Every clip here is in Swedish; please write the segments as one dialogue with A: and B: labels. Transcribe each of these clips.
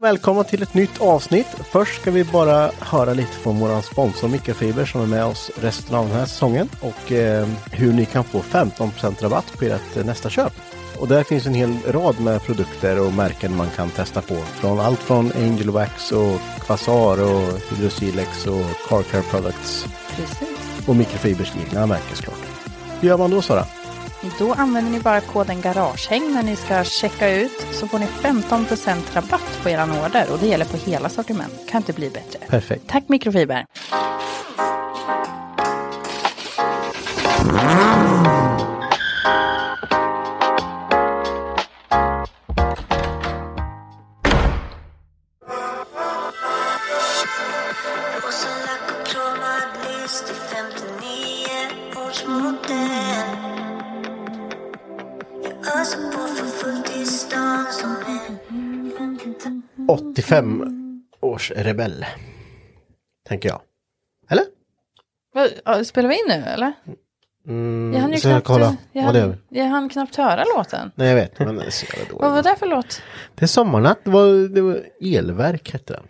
A: Välkomna till ett nytt avsnitt. Först ska vi bara höra lite från vår sponsor Mikrofiber som är med oss resten av den här säsongen och eh, hur ni kan få 15% rabatt på ert eh, nästa köp. Och där finns en hel rad med produkter och märken man kan testa på. Från allt från Angel Wax och Quasar och Hydrosilex och Car Care Products och Mikrofibers egna märken såklart. Hur gör man då Sara?
B: Då använder ni bara koden GARAGEHÄNG när ni ska checka ut så får ni 15% rabatt på eran order och det gäller på hela sortiment. Kan inte bli bättre.
A: Perfekt.
B: Tack mikrofiber.
C: Och så lack och kromad list i 59 års modell Jag öser på för fullt i stan som en
A: 85 års rebell. Tänker jag. Eller?
B: Vad, ja, spelar vi in nu eller?
A: Mm,
B: Jag hann ju
A: så jag
B: knappt,
A: kolla.
B: jag
A: Vad det är.
B: hann, jag hann knappt höra låten.
A: Nej jag vet, men det är så jävla dåligt.
B: Vad var det för låt?
A: Det är Sommarnatt, det var, det var Elverk hette den.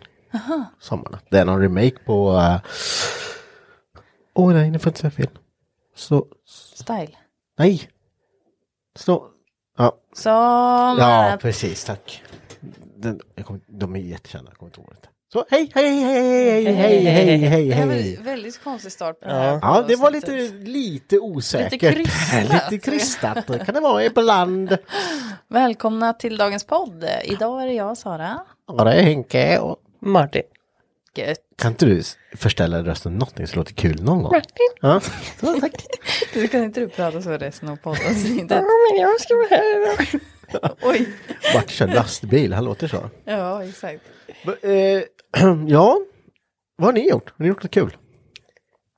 A: Sommarnatt. Det är någon remake på... eh, Åh nej, nu får jag inte säga fel. Så...
B: Style.
A: Nej! Så... Ja, ja
B: Sommarnatt.
A: precis, tack. Den, jag kommer, de är jättekända, jag kommer inte ihåg det. Så hej, hej, hej, hej, hej, hej, hej,
B: Det här var
A: hej.
B: en väldigt konstig start på det här.
A: Ja, ja, det var lite,
B: avsnittet.
A: lite osäkert.
B: Lite krystat.
A: lite krystat. Det kan det vara ibland.
B: Välkomna till dagens podd. Idag är det jag Sara.
A: Ja, det är Henke och
D: Martin.
B: Gött.
A: Kan inte du förställa rösten någonting så låter kul någon gång? Ja, så, tack.
B: Du kan inte du prata så resten av poddavsnittet.
D: men jag ska vara här.
B: Oj.
A: Vart kör lastbil, han låter så. eh,
B: Ja, exakt.
A: ja, vad har ni gjort? Har ni gjort något kul?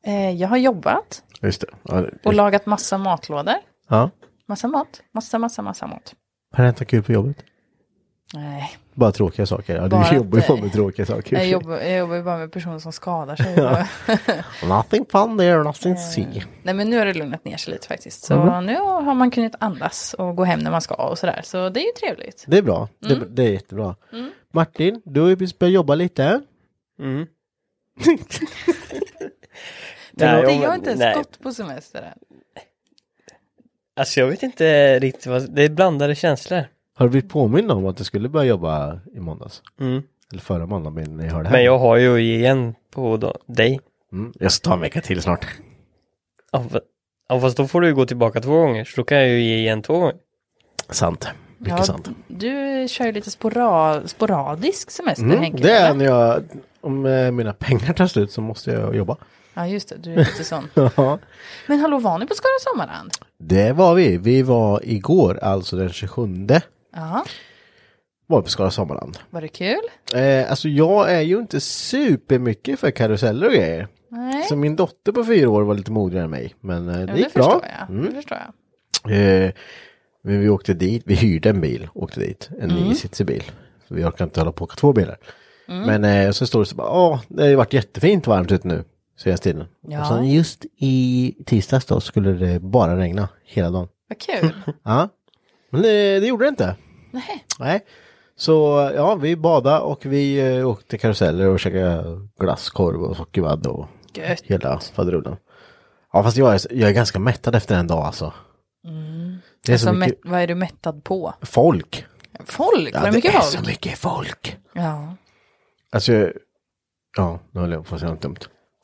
B: Eh, jag har jobbat
A: Just det. Ja, det-
B: och lagat massa matlådor.
A: ja.
B: Massa mat. Massa, massa, massa mat.
A: Har det hänt något kul på jobbet?
B: Nej,
A: Bara tråkiga saker. Ja,
B: Bara
A: du jobbar ju
B: att-
A: bara med tråkiga saker.
B: jag jobbar, jag jobbar ju bara med personer som skadar sig.
A: Nothing fun there, nothing see.
B: Nej, men nu har det lugnat ner sig lite faktiskt. Så nu har man kunnat andas och gå hem när man ska och sådär. Så det är ju trevligt.
A: Det är bra. Det, det är jättebra. Martin, du har ju precis börjat jobba lite.
D: Mm. Nej,
B: det
D: om-
B: jag har inte ens
D: nej.
B: gått på semester än.
D: Alltså jag vet inte riktigt vad, det är blandade känslor.
A: Har du blivit påmind om att du skulle börja jobba i måndags?
D: Mm.
A: Eller förra måndagen, men ni hörde det här.
D: Men jag har ju att ge igen på då, dig.
A: Mm, jag ska ta en vecka till snart.
D: Ja, fa- Ja fast då får du ju gå tillbaka två gånger, så då kan jag ju ge igen två gånger.
A: Sant. Mycket
B: Ja,
A: sant.
B: Du kör ju lite spora, sporadisk semester Henke.
A: det är
B: eller?
A: när jag, om eh, mina pengar tar slut så måste jag jobba.
B: Ja, just det. Du är lite sån.
A: Ja.
B: Men hallå, var ni på Skara Sommarland?
A: Det var vi. Vi var igår, alltså den 27,
B: Ja,
A: var vi på Skara Sommarland.
B: var det kul?
A: Eh, alltså jag är ju inte supermycket för karuseller och grejer.
B: Nej,
A: Så min dotter på fyra år var lite modigare än mig. Men eh,
B: Ja,
A: det gick
B: förstår
A: bra.
B: jag. Det
A: Mm.
B: förstår jag.
A: Eh, Men vi åkte dit, vi hyrde en bil, åkte dit, en niositsig bil. Så vi orkar inte hålla på och åka två bilar. Men eh, så står det så bara, ja, det har ju varit jättefint varmt ute nu senaste tiden.
B: Ja.
A: Och sen just i tisdags då skulle det bara regna hela dagen.
B: Vad kul.
A: Ja, men det, det gjorde det inte.
B: Nej.
A: Nej. Så ja, vi badade och vi eh, åkte karuseller och käkade glasskorv och sockervadd och
B: Gött.
A: hela faderullen. Ja, fast jag är, jag är ganska mättad efter en dag alltså. Det är
B: Alltså,
A: så mycket
B: mätt, vad är du mättad på?
A: folk.
B: Folk?
A: Ja,
B: var det mycket
A: är
B: folk?
A: så mycket folk.
B: Ja.
A: Alltså, jag- ja, nu höll jag på att säga något dumt.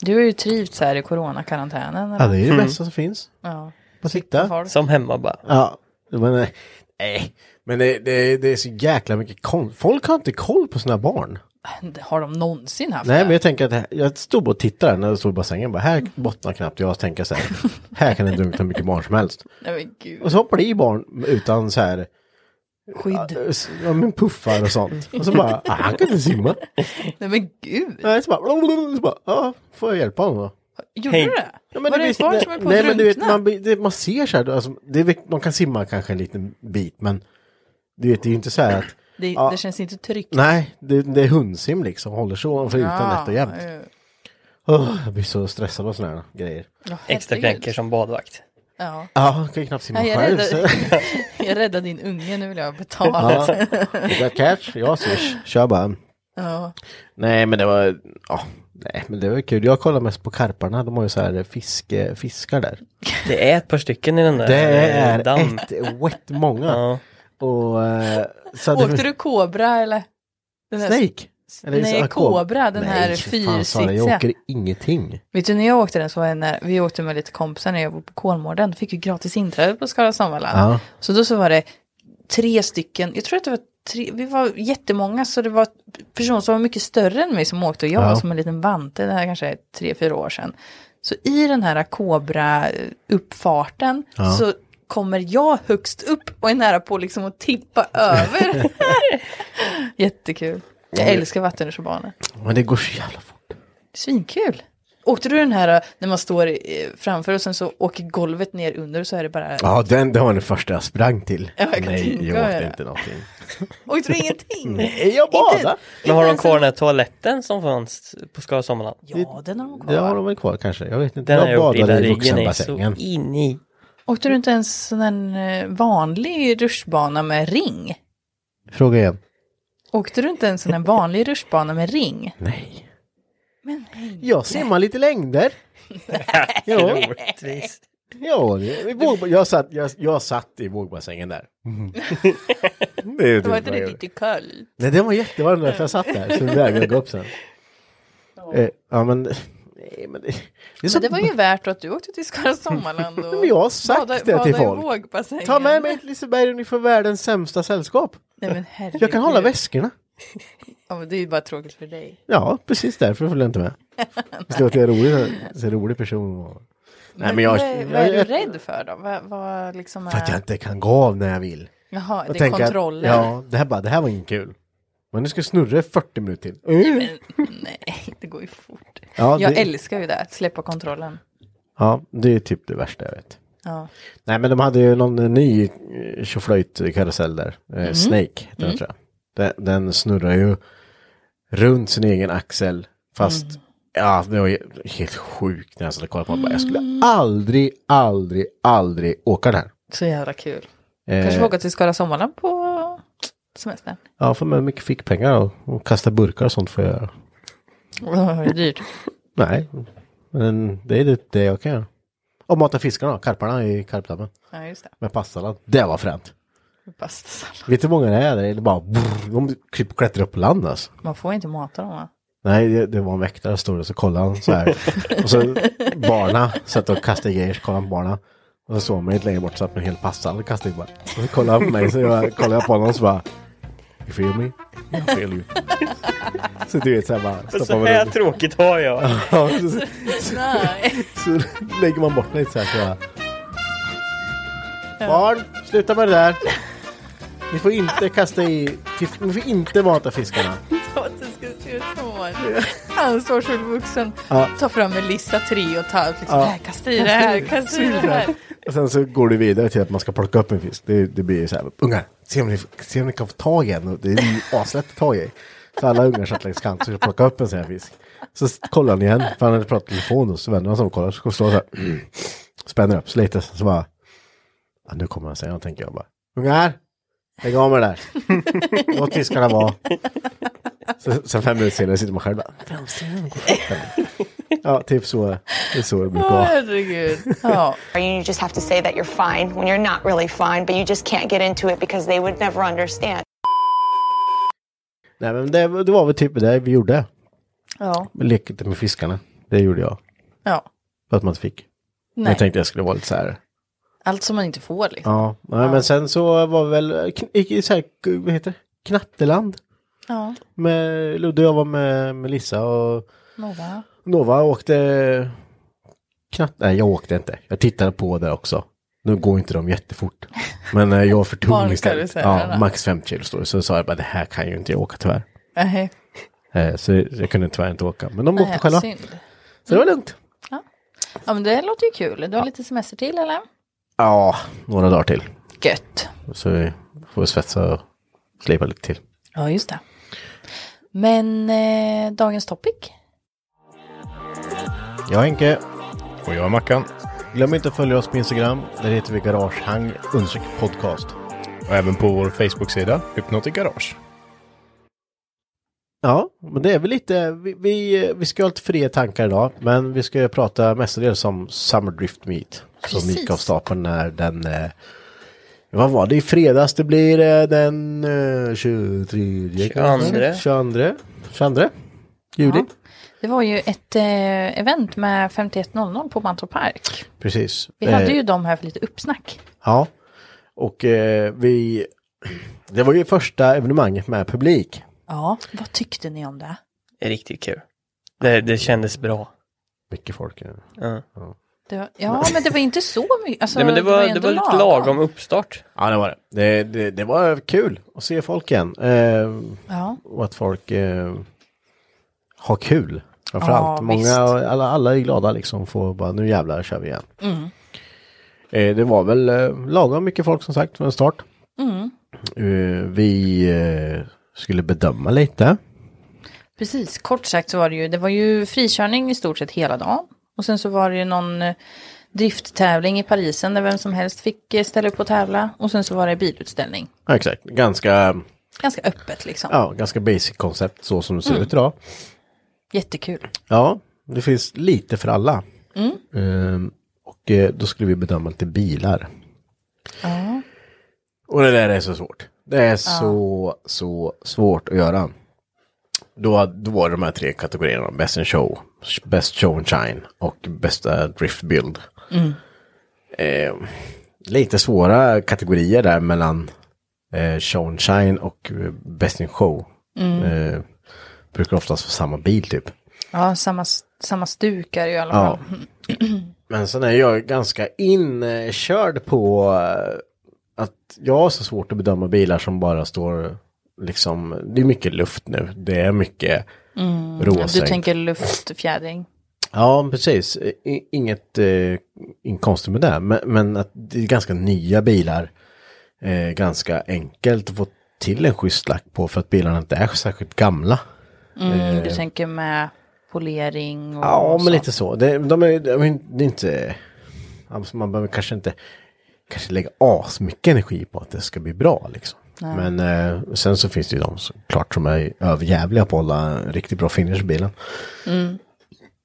B: Du har ju trivts här i coronakarantänen.
A: Ja,
B: eller?
A: det är det bästa som finns.
B: Ja.
A: Bara sitta.
B: Folk.
D: Som hemma bara.
A: Ja, men nej. nej. Men det, det, det är så jäkla mycket koll. Folk har inte koll på sina barn.
B: Har de någonsin haft
A: Nej,
B: det?
A: men jag tänker att det här, jag stod och tittade när jag stod i bassängen. Bara, här bottnar knappt jag. tänker så här, här kan det dunka hur mycket barn som helst.
B: Nej, men gud.
A: Och så hoppar det i barn utan så här,
B: Skydd.
A: s- ja, men puffar och sånt. Och så bara, ah, han kan inte simma.
B: Nej men gud.
A: Nej, så bara, så bara ja, får jag hjälpa honom då?
B: Gjorde
D: Hej.
B: du det?
A: Ja,
B: Var det
A: du
B: ett barn som höll på att
A: nej, men du vet,
B: drunkna?
A: man, blir- det, man ser så här, alltså, det är, väl- man kan simma kanske en liten bit, men du vet, det är ju inte så här att,
B: Det,
A: Ja.
B: det känns inte tryggt.
A: nej, det, det är hundsim liksom, håller sig ovanför ytan nätt och jämnt.
B: eh,
A: Åh, jag blir så stressad av sådana här grejer.
B: ja,
D: Extra
B: herregud.
D: knäcker som badvakt.
B: Ja.
A: Ja, jag kan ju knappt simma
B: Nej, jag
A: själv.
B: räddade-
A: Så.
B: Jag räddade din unge, nu vill jag betala.
A: Ja. You got catch, jag swish, kör bara.
B: Ja.
A: Nej, men det var, ja, nej, men det var kul. Jag kollar mest på karparna, de har ju så här fiske, fiskar där.
D: Det är ett par stycken i den där
A: Det
D: eh,
A: är
D: damm.
A: ett wet många.
D: Ja.
A: Och, eh, så hade vi-
B: Åkte du kobra eller? Den här-
A: Snake?
B: nej,
A: så-
B: kobra, den
A: Nej,
B: här
A: för fan, Sara, Jag
B: fyrsitsiga.
A: åker ingenting.
B: Vet du när jag åkte den så var jag när vi åkte med lite kompisar när jag var på Kolmården. Då fick vi gratis inträde på Skara Sommarland.
A: Ja.
B: Så då så var det tre stycken, jag tror att det var tre, vi var jättemånga så det var personer som var mycket större än mig som åkte och jag
A: Ja.
B: var som en liten vante, det här kanske är tre, fyra år sedan. Så i den här kobra-uppfarten
A: Ja.
B: så kommer jag högst upp och är nära på liksom att tippa över. Jättekul. Jag älskar vattenrutschbanor.
A: Men det går så jävla fort.
B: Svinkul. Åkte du den här äh, när man står eh, framför och sen så åker golvet ner under och så är det bara...
A: Ja, den, det var den första jag sprang till.
B: Ja, jag kan
A: Nej,
B: tänka
A: jag
B: mig
A: åkte
B: det.
A: inte någonting.
B: Åkte du ingenting?
A: Nej, jag badade.
D: Men har de
B: ens
D: kvar
B: en-
D: den här toaletten som fanns på Skara Sommarland?
B: Ja, den har de kvar.
A: Det har de väl kvar kanske. Jag vet inte.
D: Den har
A: jag
D: jag gjort illa
A: badade i
D: ryggen i så
A: vuxenbassängen.
D: in i.
B: Åkte du inte ens sån här eh, vanlig rutschbana med ring?
A: Fråga igen.
B: Åkte du inte ens sån här vanlig rutschbana med ring?
A: Nej.
B: Men nej.
A: Jag simmar lite längder. Jo.
D: Orättvis.
A: Ja, det- i våg- jag, satt, jag, jag satt i vågbassängen där. det är ju typ
B: Det
A: vad
B: var inte
A: jag
B: det
A: gjorde.
B: lite kallt?
A: Nej, den var jättevarm därför jag satt där. Så vägrade gå upp sen. Eh, ja, men... Nej, men det, det är så
B: Men det var ju värt att du åkte till Skara Sommarland och
A: Men jag har sagt det till
B: bada i
A: folk.
B: vågbassängen.
A: Ta med mig till Liseberg, ni får världens sämsta sällskap.
B: Nej men herregud.
A: Jag kan hålla väskorna.
B: Ja, men det är ju bara tråkigt för dig.
A: Ja, precis därför följer jag inte med. Jag ska vara en rolig, en rolig person. Och... Nej, men jag,
B: vad, är- vad är du
A: jag-
B: rädd för då? Vad, vad liksom är...
A: För att jag inte kan gå av när jag vill.
B: Jaha,
A: Jag
B: det är
A: tänker att-
B: kontrollen.
A: Ja, det här, bara, det här var inget kul. Men nu ska jag snurra i 40 minuter till.
B: Nej, det går ju fort.
A: Ja,
B: jag
A: det-
B: älskar ju det, att släppa kontrollen.
A: Ja, det är typ det värsta jag vet.
B: Ja.
A: Nej, men de hade ju någon ny eh, tjoflöjtkarusell där. Eh,
B: Mhm.
A: Snake, den
B: Mm.
A: tror jag. Den, den snurrar ju runt sin egen axel. Fast,
B: Mm.
A: ja, det var ju helt sjukt när jag satt och kollade på den. Bara, Jag skulle
B: Mm.
A: aldrig, aldrig, aldrig åka den här.
B: Så jävla kul.
A: Eh,
B: Kanske får åka till Skara Sommarland på semestern.
A: Ja, för med mycket fickpengar och, och kasta burkar och sånt får jag göra.
B: Åh, Det är dyrt.
A: Nej, men det är det, det jag kan göra. Och mata fiskarna, karparna i karpdammen.
B: Ja, just det.
A: Med pastasallad. Det var fränt.
B: Bastasallad.
A: Vet du hur många det är? där? Det är bara, brr, de typ klättrar upp på land alltså.
B: Man får inte mata dem va?
A: Nej, det, det var en väktare som stod och så kollade han så här. och så barna satt och kastade grejer, så kollade han på barna. Och så såg man lite längre bort så att en hel passande kastade in bara. Och så kollade han på mig, så jag, kollade jag på honom och så bara. You feel me? I feel you. Så du vet så här bara. stoppar
D: Så
A: man
D: här
A: upp.
D: tråkigt har jag.
A: Ja, så, så,
B: Nej.
A: så lägger man bort lite så här. Så jag, Barn, sluta med det där. Ni får inte kasta i, ni får inte mata fiskarna.
B: Det var inte så Marcus gör ett hår. Han står fullvuxen,
A: Ja.
B: tar fram Melissa 3 och tar upp liksom,
A: Ja.
B: här, kasta i det här, kasta i det här.
A: Och sen så går det vidare till att man ska plocka upp en fisk. Det, det blir ju så här, ungar, se om, ni, se om ni kan få tag i en. Och Det är ju aslätt att ta i. Så alla ungar satt längs kanten och skulle plocka upp en sån här fisk. Så s- kollar ni igen, för han hade pratat i telefon då, så vänder han sig om och kollar. Så står han så här, mm, spänner upp sig lite. Så bara, ja, nu kommer han säga något, tänker jag bara. Ungar, lägg av med det där. Låt fiskarna vara. Så, sen fem minuter senare sitter man själv bara, "Fan, ser du, gå fort, eller?" Ja, typ så. Det är så det brukar
B: Åh,
A: vara.
B: herregud. Ja.
E: You just have to say that you're fine when you're not really fine, but you just can't get into it because they would never understand.
A: Nej men det, det var väl typ det vi gjorde.
B: ja.
A: Vi lekte lite med fiskarna. Det gjorde jag.
B: ja.
A: För att man inte fick. Men
B: Nej.
A: jag tänkte jag skulle vara lite så här.
B: Allt som man inte får liksom.
A: Ja. Nej, men sen så var vi väl, kn- gick i så här, vad heter det? Knatteland.
B: Ja.
A: Med Ludde och jag var med Melissa och
B: Nova.
A: Nova åkte knatt... Nej jag åkte inte. Jag tittade på det också. Nu går inte de jättefort. Men eh, jag var för tung istället.
B: Barnkarusellerna.
A: Ja, max 5 kilo står det. Så sa jag bara det här kan ju inte jag åka tyvärr.
B: Nej,
A: Eh, Så jag kunde tyvärr inte åka. Men de åkte
B: nej,
A: själva.
B: synd.
A: Så det var lugnt.
B: Ja, men det låter ju kul. Du har lite semester till eller?
A: Ja, några dagar till.
B: Gött.
A: Så vi får svetsa och slipa lite till.
B: Ja, just det. Men eh, dagens topic?
A: Jag är Henke.
F: Och jag är Mackan.
A: Glöm inte att följa oss på Instagram. Där heter vi Garagehang undersök podcast.
F: Och även på vår Facebook-sida Hypnotic Garage.
A: Ja, men det är väl lite, vi, vi, vi ska ha lite fria tankar idag, men vi ska ju prata mestadels om Summer Drift Meet. Som
B: Precis.
A: gick av stapeln när den, eh, vad var det, i fredags det blir eh, den eh, 23
D: 22.
A: 22, 22 juli.
B: Ja. Det var ju ett eh, event med 5100 på Mantorp Park.
A: Precis.
B: Vi hade
A: Eh,
B: ju dem här för lite uppsnack.
A: Ja, och eh, vi... Det var ju första evenemanget med publik.
B: Ja, vad tyckte ni om det?
D: Det är riktigt kul. Det, det kändes bra.
A: Mycket folk. eh.
D: Ja.
B: det var, ja, men det var inte så mycket. Alltså,
D: Nej, men det var,
B: ändå
D: det var lite lagom uppstart.
A: Ja, det var det. Det, det. det var kul att se folk igen. Eh,
B: Ja,
A: och att folk eh, har kul. Framförallt.
B: Ja,
A: Många,
B: visst.
A: alla, alla är glada liksom. Får bara, nu jävlar kör vi igen.
B: Mm.
A: Eh, det var väl eh, lagom mycket folk som sagt från start.
B: Mm.
A: Eh, vi eh, skulle bedöma lite.
B: precis. Kort sagt så var det ju, det var ju frikörning i stort sett hela dagen. Och sen så var det ju någon eh, drifttävling i Parisen där vem som helst fick eh, ställa upp och tävla. Och sen så var det bilutställning.
A: Ja, exakt. Ganska,
B: Ganska öppet liksom.
A: ja, ganska basic koncept så som det ser ut idag.
B: Jättekul.
A: Ja, det finns lite för alla. Ehm, och eh, då skulle vi bedöma lite bilar.
B: Ja.
A: Och det där är så svårt. Det är så, så svårt att göra. Då, då var det de här tre kategorierna. Best in show, best show and shine och bästa drift build. Ehm, lite svåra kategorier där mellan eh, show and shine och eh, best in show. Eh, brukar oftast vara samma bil typ.
B: Ja, samma, samma stuk är det ju i alla
A: Ja.
B: fall.
A: Men sen är jag ganska inkörd på eh, att jag har så svårt att bedöma bilar som bara står liksom, det är mycket luft nu, det är mycket
B: Du
A: råsänk.
B: tänker luftfjädring.
A: Ja, precis. I, inget eh, inget konstigt med det, men, men att det är ganska nya bilar. Eh, ganska enkelt att få till en schysst lack på för att bilarna inte är särskilt gamla.
B: Mm, du tänker med polering och
A: Eh. Ja,
B: sånt.
A: men lite så. Det, de är, de är, det är inte... alltså, Man behöver kanske inte kanske lägga asmycket energi på att det ska bli bra. Liksom. Men eh, sen så finns det ju de såklart som är överjävliga på att hålla en riktigt bra finish i bilen.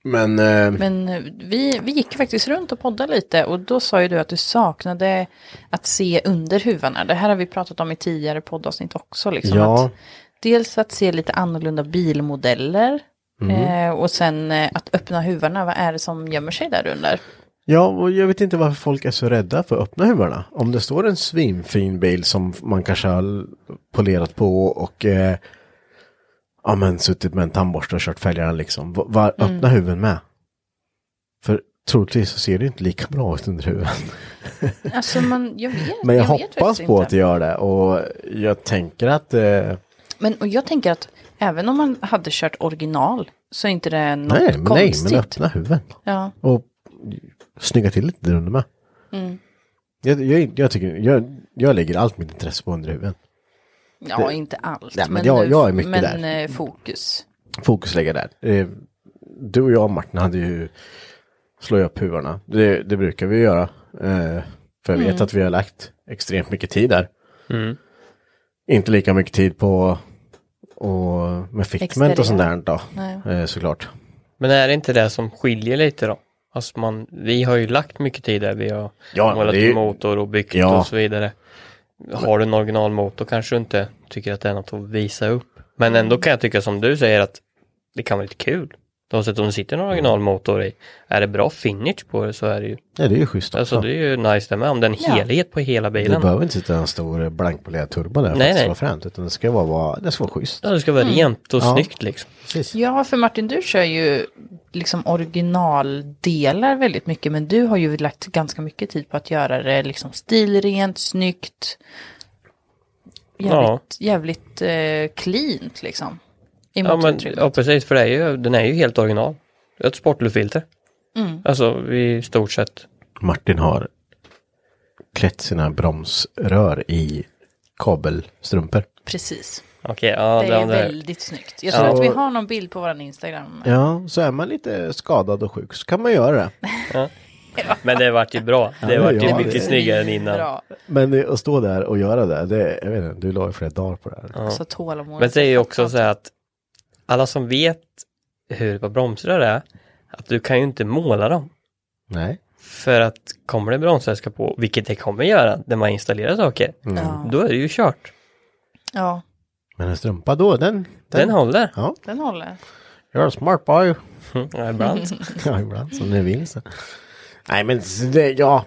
A: Men, eh,
B: Men eh, vi, vi gick faktiskt runt och poddade lite och då sa ju du att du saknade att se under huvarna. Det här har vi pratat om i tidigare poddavsnitt också. Liksom,
A: Ja.
B: att dels att se lite annorlunda bilmodeller
A: Mm.
B: eh, och sen eh, att öppna huvarna. Vad är det som gömmer sig där under?
A: ja, och jag vet inte varför folk är så rädda för att öppna huvarna. Om det står en svinfin bil som man kanske har polerat på och eh, ja, men suttit med en tandborste och kört fälgarna liksom. Va- va-
B: Mm.
A: öppna huven med. För troligtvis så ser det inte lika bra ut under huven.
B: Alltså man, jag vet,
A: Men jag,
B: vet
A: hoppas
B: faktiskt
A: på
B: inte.
A: att det gör det och jag tänker att eh,
B: Men och jag tänker att Även om man hade kört original så är inte det något
A: Nej, men nej,
B: konstigt.
A: men öppna huvudet.
B: Ja.
A: Och snygga till lite där under med.
B: Mm.
A: Jag, jag, jag, tycker, jag, jag lägger allt mitt intresse på under huvudet.
B: ja,
A: Det-
B: inte allt.
A: Nej, men jag- jag är mycket
B: men
A: där.
B: eh, fokus.
A: Fokus lägga där. Eh, Du och jag och Martin hade ju slå upp huvarna. Det, det brukar vi göra. eh, För jag vet
B: Mm.
A: att vi har lagt extremt mycket tid där.
D: Mm.
A: Inte lika mycket tid på och med fitment
B: Exteriör.
A: och sånt där då,
B: Nej.
A: eh, såklart.
D: Men är det inte det som skiljer lite då? Alltså man, vi har ju lagt mycket tid där, vi har
A: Ja,
D: målat
A: det är ju-
D: motor och byggt
A: Ja.
D: och så vidare. Har du en originalmotor kanske du inte tycker att det är något att visa upp. Men
B: Mm.
D: ändå kan jag tycka som du säger att det kan vara lite kul. Oavsett om det sitter en
A: Mm.
D: originalmotor i, är det bra finish på det så är det ju,
A: Ja, det är ju schysst också.
D: alltså det är ju nice det med, om det är en
B: Ja.
D: helhet på hela
A: Det
D: bilen.
A: behöver inte sitta en stor blankpolerad turbo där för
D: Nej,
A: att det ska
D: nej.
A: vara fränt. Utan det ska vara, vara, det ska vara schysst.
D: Ja, det ska vara
B: Mm.
D: rent och
A: Ja.
D: snyggt liksom.
A: Precis.
B: Ja, för Martin, du kör ju liksom originaldelar väldigt mycket, men du har ju lagt ganska mycket tid på att göra det liksom stilrent, snyggt, jävligt, jävligt eh, cleant liksom. I
D: Ja, men,
B: motorutrymmet.
D: ja precis, för det är ju, den är ju helt original. Ett sportluftfilter.
B: Mm.
D: Alltså i stort sett.
A: Martin har klätt sina bromsrör i kabelstrumpor.
B: Precis.
D: Okej, ja,
B: det är
D: det, det,
B: väldigt snyggt. Jag tror
A: Ja.
B: att vi har någon bild på vår Instagram.
A: Ja, så är man lite skadad och sjuk så kan man göra det.
D: men det vart ju bra. Det
A: Ja,
D: vart ju
A: ja,
D: mycket
A: det-
D: snyggare än innan.
B: Bra.
A: Men det- att stå där och göra det, det jag vet inte, du la ju flera dagar på det här.
D: Ja.
B: Så tålamodet.
D: Men det är ju
B: är
D: också så här att alla som vet hur ett par bromsrör är, att du kan ju inte måla dem.
A: Nej.
D: För att kommer det bromsväska på, vilket det kommer göra när man installerar saker,
B: Ja.
D: då är det ju kört.
B: ja,
A: Mm. Men en strumpa då, den...
D: Den, håller.
A: Ja,
B: den håller.
A: you're a smart boy.
B: Mm.
D: Ja, ibland.
A: ja, ibland som ni vill så. Nej, men det, ja.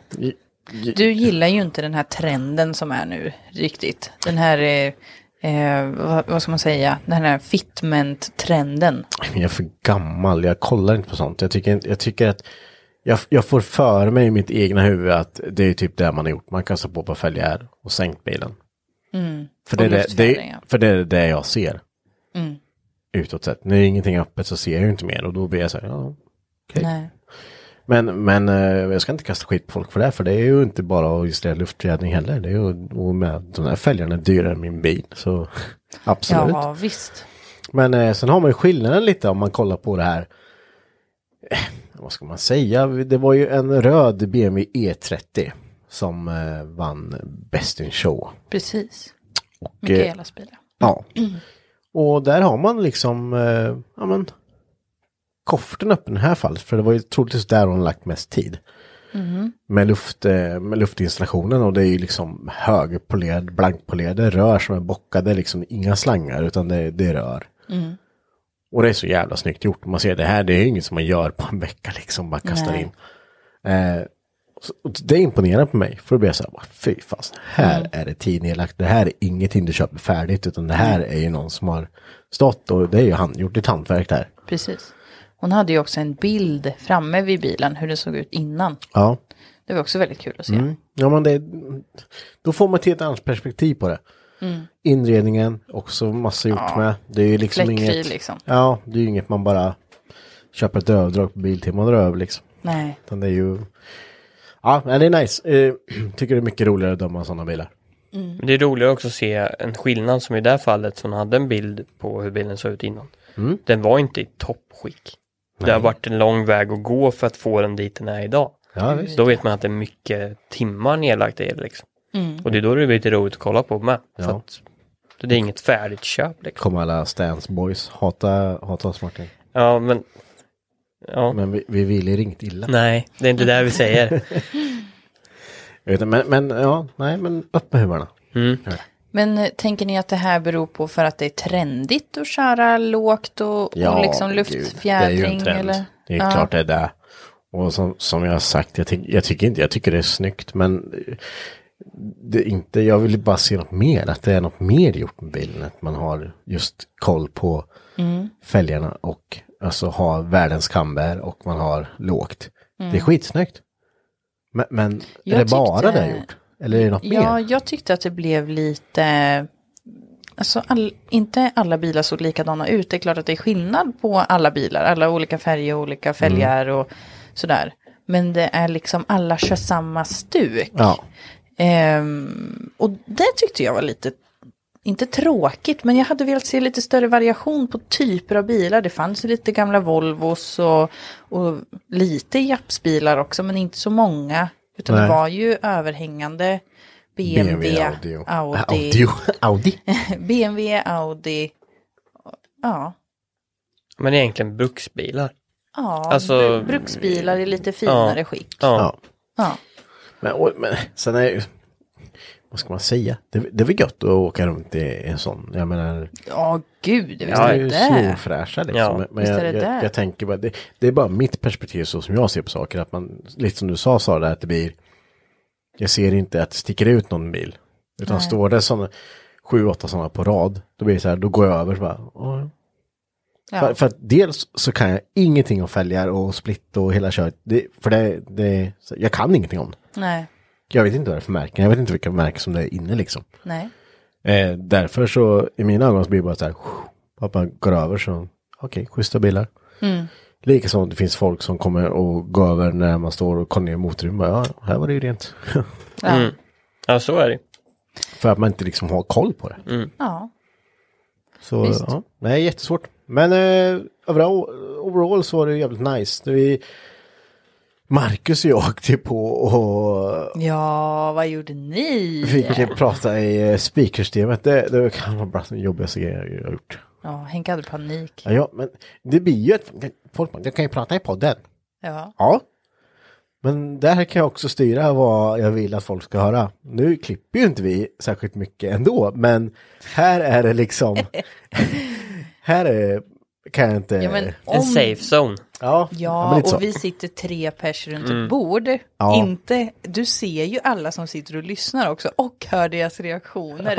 B: Du gillar ju inte den här trenden som är nu riktigt. Den här, eh, eh, vad, vad ska man säga, den här fitment-trenden.
A: Jag är för gammal, jag kollar inte på sånt. Jag tycker, inte- jag tycker att jag, jag får för mig i mitt egna huvud att det är typ det man har gjort. Man kastar på på fälgar och sänkt bilen. För, det är
B: Och
A: det, det,
B: luftfjädringar.
A: för det är det jag ser. Utåt sett. När ingenting är öppet så ser jag ju inte mer och då blir jag så här, ja. okej.
B: Nej.
A: Men, men eh, jag ska inte kasta skit på folk för det, här, för det är ju inte bara att justera luftfjädring heller. Det är ju, och med, de här fälgarna är dyrare än min bil, så absolut.
B: Ja, visst.
A: Men eh, sen har man ju skillnaden lite om man kollar på det här. Eh, vad ska man säga? Det var ju en röd BMW E30 E som eh, vann Best in Show.
B: Precis.
A: Och, eh,
B: Mikaelas bil.
A: Ja. Och där har man liksom, eh, ja men, koften öppen i det här fallet. För det var ju troligtvis där hon lagt mest tid. Med, luft, eh, med luftinstallationen och det är ju liksom högpolerad, blankpolerade rör som är bockade. Liksom inga slangar utan det, det är rör. Och det är så jävla snyggt gjort. Man ser det här, det är ju inget som man gör på en vecka liksom. Bara kastar
B: Nej.
A: in. Eh, så- och det imponerar på mig. För då blir jag så här, bara, fy fasen, här är det tid nedlagt. Det här är ingenting du köper färdigt. Utan det här är ju någon som har stått och det är ju handgjort, ett hantverk där.
B: Precis. Hon hade ju också en bild framme vid bilen, hur den såg ut innan.
A: Ja.
B: Det var också väldigt kul att se.
A: Mm. Ja, men det, då får man till ett annat perspektiv på det. Inredningen, också massa gjort med. Det är ju liksom
B: Fläckfri
A: inget.
B: liksom.
A: Ja, det är ju inget man bara köper ett överdrag på Biltema och drar över liksom.
B: Nej,
A: Utan det är ju... Ja, men det är nice. Eh, tycker det är mycket roligare att döma sådana bilar.
B: Mm.
D: Men Det är roligare också att se en skillnad som i det här fallet som hade en bild på hur bilen såg ut innan.
A: Mm.
D: Den var inte i toppskick. Det har varit en lång väg att gå för att få den dit den är idag.
A: Ja, visst.
D: Då vet man att det är mycket timmar nedlagt i det liksom.
B: Mm.
D: Och det är då det blir lite roligt att kolla på med. För
A: Ja.
D: att det är inget färdigt köp liksom.
A: Kommer alla Stans boys hata, hata oss Martin.
D: Ja men... Ja.
A: Men vi, vi vill ju ringt illa.
D: Nej, det är inte det vi säger.
A: Jag vet inte, Men, men ja, nej men upp med huvudarna.
B: Men eh, tänker ni att det här beror på för att det är trendigt att köra lågt och, och liksom luftfjädring?
A: Det är ju en trend.
B: Eller?
A: Det är
B: Ja.
A: klart det är det. Och som, som jag har sagt, jag, tyck, jag tycker inte, jag tycker det är snyggt men det är inte, jag vill bara se något mer, att det är något mer gjort med bilen, att man har just koll på
B: Mm.
A: fälgarna och alltså har världens kamber och man har lågt. Det är skitsnyggt. Men, men är
B: Mm. Jag
A: det bara
B: tyckte-
A: det gjort? Eller är det något
B: Ja,
A: mer?
B: jag tyckte att det blev lite Alltså all, inte alla bilar såg likadana ut. Det är klart att det är skillnad på alla bilar. Alla olika färger och olika fälgar och sådär. Men det är liksom alla kör samma stuk.
A: Ja.
B: Ehm, och det tyckte jag var lite, inte tråkigt, men jag hade velat se lite större variation på typer av bilar. Det fanns ju lite gamla Volvos och, och lite Japsbilar också, men inte så många. Utan
A: Nej.
B: det var ju överhängande BMW,
A: Audio.
B: Audi,
A: Audio. Audi.
B: BMW, Audi. Ja,
D: Men egentligen bruksbilar.
B: ja
D: Alltså-
B: bru- bruksbilar i lite finare
D: Ja.
B: skick.
D: Ja.
A: Ja.
B: Ja.
A: Men, och, men sen är ju- vad ska man säga? Det, det är väl gött att åka runt i en sån. Jag menar,
B: ja, gud, visst
A: ja,
B: är
A: är
B: det
A: ju
B: det.
A: snorfräscha liksom.
D: Ja.
A: Men- Men
B: Visst är
A: jag,
B: det
A: jag,
B: det.
A: jag tänker bara, det, det är bara mitt perspektiv så som jag ser på saker. Att man, lite som du sa Sara, där, att det blir, jag ser inte att det sticker ut någon bil. Utan står det sådana, sju, åtta sådana på rad, då blir det så här, då går jag över så bara, "Åh, för,
B: Ja.
A: för att dels så kan jag ingenting om fälgar och splitt och hela köret. Det, för det, det, så jag kan ingenting om det.
B: Nej,
A: Jag vet inte vad det är för märken. Jag vet inte vilka märken som det är inne liksom.
B: nej.
A: Eh, därför så i mina ögon så blir det bara så här. Att man går över så. Okej, schyssta bilar. Likaså att det finns folk som kommer och går över när man står och kollar ner i motorrummet. Bara, Ja, här var det ju rent.
B: Ja.
D: Ja, så är det.
A: för att man inte liksom har koll på det.
B: ja.
A: Så
B: Visst.
A: ja, nej, jättesvårt. Men eh, overall, overall så var det jävligt nice. Det vi, Marcus och jag åkte på och
B: Ja, vad gjorde ni?
A: fick prata i eh, speakersystemet. Det, det kan vara bland de jobbigaste grejer jag har gjort.
B: Ja, Henke hade panik.
A: Ja, ja, men det blir ju att folk bara, jag kan ju prata i podden.
B: Ja,
A: Ja. Men där kan jag också styra vad jag vill att folk ska höra. Nu klipper ju inte vi särskilt mycket ändå, men här är det liksom... här är, kan jag inte...
B: ja men
D: En
B: om...
D: safe zone.
A: Ja, Eh, ja, men
B: Ja,
A: lite så.
B: och vi sitter tre pers runt
D: Mm.
B: ett bord.
A: Ja.
B: Inte, du ser ju alla som sitter och lyssnar också och hör deras reaktioner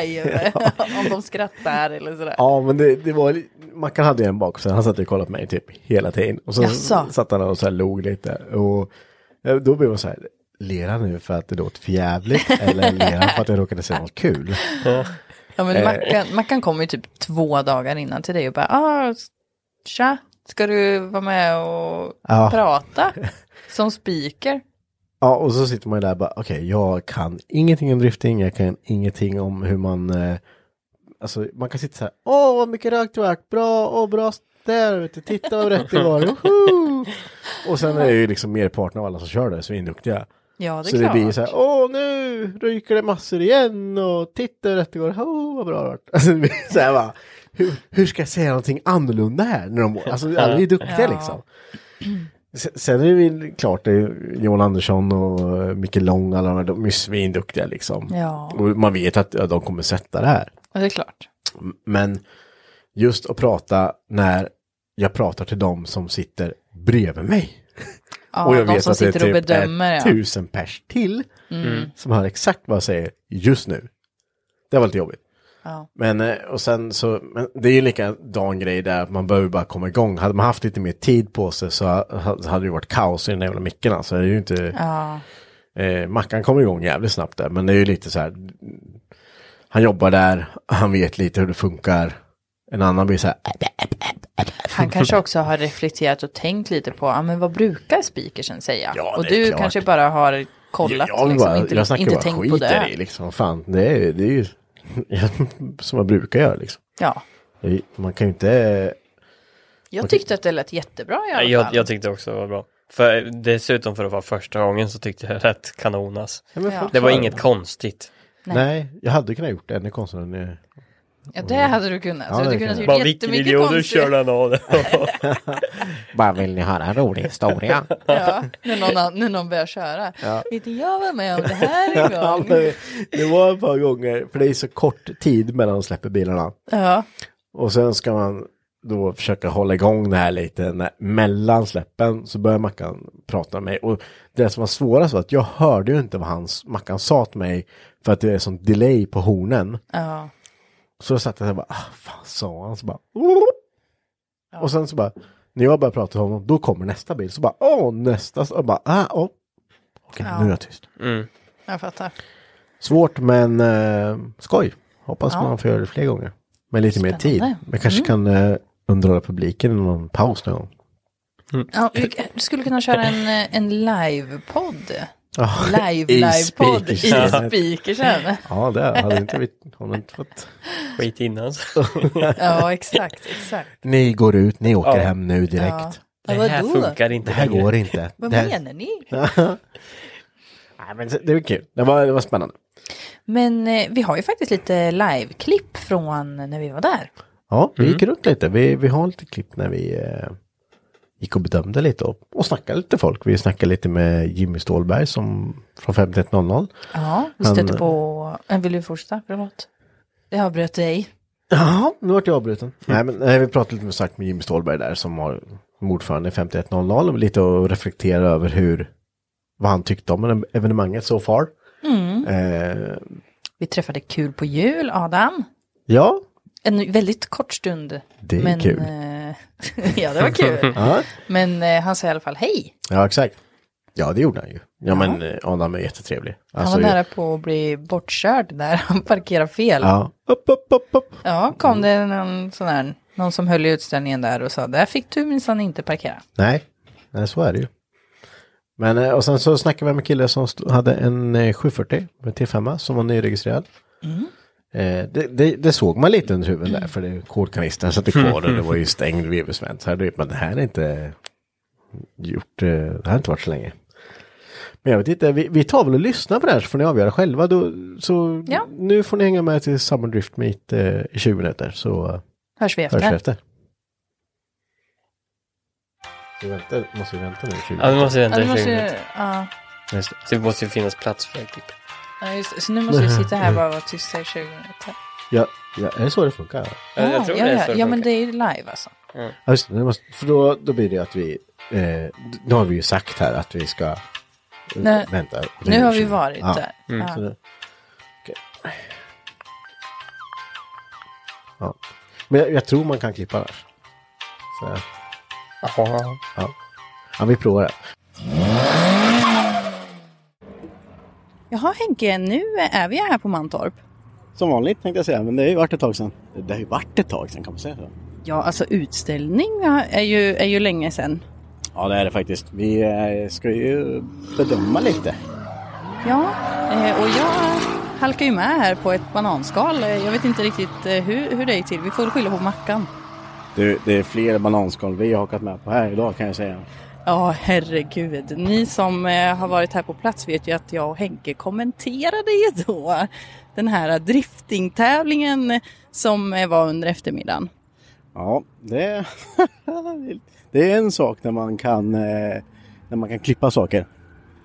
B: live. om de skrattar eller sådär.
A: Ja, men det, det var... li- Mackan hade ju en bak, sen han satt och kollade på mig typ hela tiden. Och så
B: Jaså?
A: satt han och så här log lite. Och eh, då blev man så här, ler han nu för att det låter för jävligt eller ler han för att jag råkade säga något kul?
B: Ja,
D: Eh.
B: men Mackan, Mackan kom ju typ två dagar innan till dig och bara, ah, tja, ska du vara med och
A: Ja.
B: prata som speaker?
A: Ja, och så sitter man ju där och bara, okej, jag kan ingenting om drifting, jag kan ingenting om hur man, eh, alltså man kan sitta så här, åh vad mycket rök det vart, bra, åh bra, där, vet du, titta vad rätt det var, woho! Och sen är ju liksom merparten av alla som kör det svinduktiga.
B: Ja, det är
A: så
B: klart.
A: det blir så här, åh nu ryker det massor igen och titta hur rätt det går, oh, vad bra det vart. Alltså det blir så här bara, hur, hur ska jag säga någonting annorlunda här? När de, alltså alla är ju duktiga
B: Ja.
A: liksom. Sen- Sen är det väl klart, det är Johan Andersson och eh, Micke Lång, alla de, här, de är ju svinduktiga liksom.
B: Ja,
A: Och man vet att ja, de kommer sätta det här.
B: ja, det är klart.
A: Men just att prata när jag pratar till dem som sitter bredvid mig.
B: Ja,
A: och jag
B: de
A: vet
B: som
A: att det är
B: sitter och
A: typ
B: bedömer.
A: är
B: ja. Mm.
A: tusen pers till som hör exakt vad jag säger just nu. Det var lite jobbigt.
B: Ja.
A: Men, eh, och sen så, men det är ju likadan grej där, att man behöver bara komma igång. Hade man haft lite mer tid på sig så ha- hade det ju varit kaos i den där jävla micken. alltså. det är ju inte,
B: Ja,
A: eh, Mackan kommer igång jävligt snabbt där, men det är ju lite så här, han jobbar där, han vet lite hur det funkar. En annan blir så här, "Äh,
B: han kanske också har reflekterat och tänkt lite på, ja men vad brukar speakersen säga?
A: Ja,
B: och
A: det är
B: du
A: klart.
B: kanske bara har kollat,
A: jag, jag,
B: liksom,
A: bara,
B: inte,
A: jag snackar
B: inte
A: bara
B: tänkt
A: skit
B: på
A: i
B: det.
A: det liksom. Fan, det är, det är ju som man brukar göra liksom.
B: Ja,
A: Det är- Man kan ju inte
B: jag tyckte att det lät jättebra i alla fall.
D: Jag, jag tyckte också det var bra. För dessutom för att vara första gången så tyckte jag rätt kanonas.
B: ja.
D: Det var inget konstigt.
A: Nej.
B: Nej.
A: jag hade kunnat gjort det ännu konstigare. än, eh,
B: ja, det hade du kunnat.
A: Ja,
B: så
A: det
B: du
A: kan
B: kunde ha
A: jag.
D: Bara
B: gjort
D: vilken
B: jättemycket
D: idiot du
B: konstigt.
D: kör den av det.
A: Bara vill ni höra en rolig historia?
B: Ja, när någon, an- när någon börjar köra. Vet ni, jag var med om det här en
A: Ja,
B: gång.
A: men det var ett par gånger, för det är så kort tid mellan de släpper bilarna.
B: Ja,
A: Och sen ska man då försöka hålla igång det här lite. När, mellan släppen så börjar Mackan prata med mig. Och det som var svårast var att jag hörde ju inte vad hans, Mackan sa till mig. För att det är sån delay på hornen.
B: ja,
A: Så då satt jag där och bara, ah, fan sa han? Så bara, "Oop." Och sen så bara, när jag började prata till honom, då kommer nästa bild. Så bara, åh, nästa. Så jag bara, ah, åh. Okej, nu är jag tyst.
B: jag fattar.
A: Svårt men eh, skoj. Hoppas
B: Ja.
A: man får göra det fler gånger. Med lite mer tid.
B: Spännande. Mm.
A: Man kanske kan eh, underhålla publiken i någon paus någon gång.
B: Ja, vi k- skulle kunna köra en, eh, en livepodd.
A: Ja,
B: Live,
A: i
B: livepodd i
A: speakersen.
B: speakersen.
A: Ja, det hade inte vi har vi inte fått.
D: Skit innan.
B: Ja, exakt, exakt.
A: Ni går ut, ni åker
D: Ja.
A: hem nu direkt.
B: Ja.
D: Det
B: Ja,
D: här
B: vadå?
D: funkar inte
A: Det här
D: längre.
A: går inte.
B: Vad
A: det här...
B: menar ni?
A: Nej, men det det var kul. Det var, det var spännande.
B: Men eh, vi har ju faktiskt lite liveklipp från när vi var där.
A: Ja, vi gick runt lite. Vi, vi har lite klipp när vi eh, gick och bedömde lite och, och snackade lite folk. Vi snackade lite med Jimmy Ståhlberg som, från 5100.
B: Ja, vi
A: Han-
B: stötte på... eh, Vill du fortsätta? Förlåt. Jag avbröt dig.
A: Ja, nu vart jag avbruten. Mm. Nej, men nej, vi pratade lite med, sagt med Jimmy Ståhlberg där som har som ordförande i 5100 och lite att reflektera över hur vad han tyckte om evenemanget so far.
B: Mm.
A: Eh,
B: Vi träffade Kul på jul, Adam.
A: ja,
B: En väldigt kort stund.
A: Det är kul.
B: eh, ja, det var kul.
A: ja,
B: men eh, han sa i alla fall hej.
A: ja, exakt. Ja, det gjorde han ju. Ja, men eh, Adam är jättetrevlig.
B: Han
A: Alltså,
B: var nära på att bli bortkörd när han parkerade fel. Ja,
A: Ja, upp, upp, upp, upp.
B: kom det någon sån här, någon som höll i utställningen där och sa, där fick du minsann inte parkera.
A: Nej, nej så är det ju. Men eh, och sen så snackade vi med en kille som st- hade en eh, 740 med T5 som var nyregistrerad. Eh, det, det, det såg man lite under huven där för det, kolkanistern satt ju kvar och det var ju stängd vevesvent. Så här, du vet, Men det här är inte gjort, eh, det här har inte varit så länge. Men jag vet inte, vi, vi tar väl och lyssnar på det här så får ni avgöra själva. Då, så
B: Ja.
A: nu får ni hänga med till Summer Drift Meet eh, i 20 minuter så eh,
B: Hörs vi efter?
A: hörs vi efter. Vi väntar, måste vi vänta nu 20
D: Ja, vi måste
B: Ja,
D: vänta
B: du
D: i 20
B: måste,
D: minuter.
B: ju- ja,
A: Just det.
D: Så det måste ju finnas plats för det typ. klippet.
B: ja, just, det. så nu måste vi sitta här och bara vara tysta i 20 minuter.
A: Ja, ja, är det så det funkar?
D: Ja, jag tror
B: ja,
D: det är
B: ja,
D: så det
B: ja, men det
D: funkar.
B: är ju live alltså.
A: Ja, just det, nu måste, för då, då blir det att vi, eh, nu har vi ju sagt här att vi ska eh,
B: Nej,
A: vänta. Och det
B: Nu
A: är
B: har vi
A: 20.
B: varit
A: ja.
B: där.
D: Mm.
A: Så
B: Ja.
A: det- okej. Ja. Men jag, jag tror man kan klippa där. Så,
D: Jaha.
A: ja, vi provar det.
B: Jaha Henke, nu är vi här på Mantorp.
A: Som vanligt tänkte jag säga, men det har ju varit ett tag sedan. Det har ju varit ett tag sedan kan man säga så.
B: Ja, alltså utställning är ju, är ju länge sedan.
A: Ja, det är det faktiskt. Vi eh, ska ju bedöma lite.
B: Ja, eh, och jag halkar ju med här på ett bananskal. Eh, Jag vet inte riktigt eh, hur, hur det är till. Vi får väl skylla på Mackan.
A: Du, det är fler bananskal vi har hakat med på här idag kan jag säga.
B: Ja, herregud. Ni som eh, har varit här på plats vet ju att jag och Henke kommenterade ju då den här driftingtävlingen som eh, var under eftermiddagen.
A: Ja, det, det är en sak när man, kan, eh, när man kan klippa saker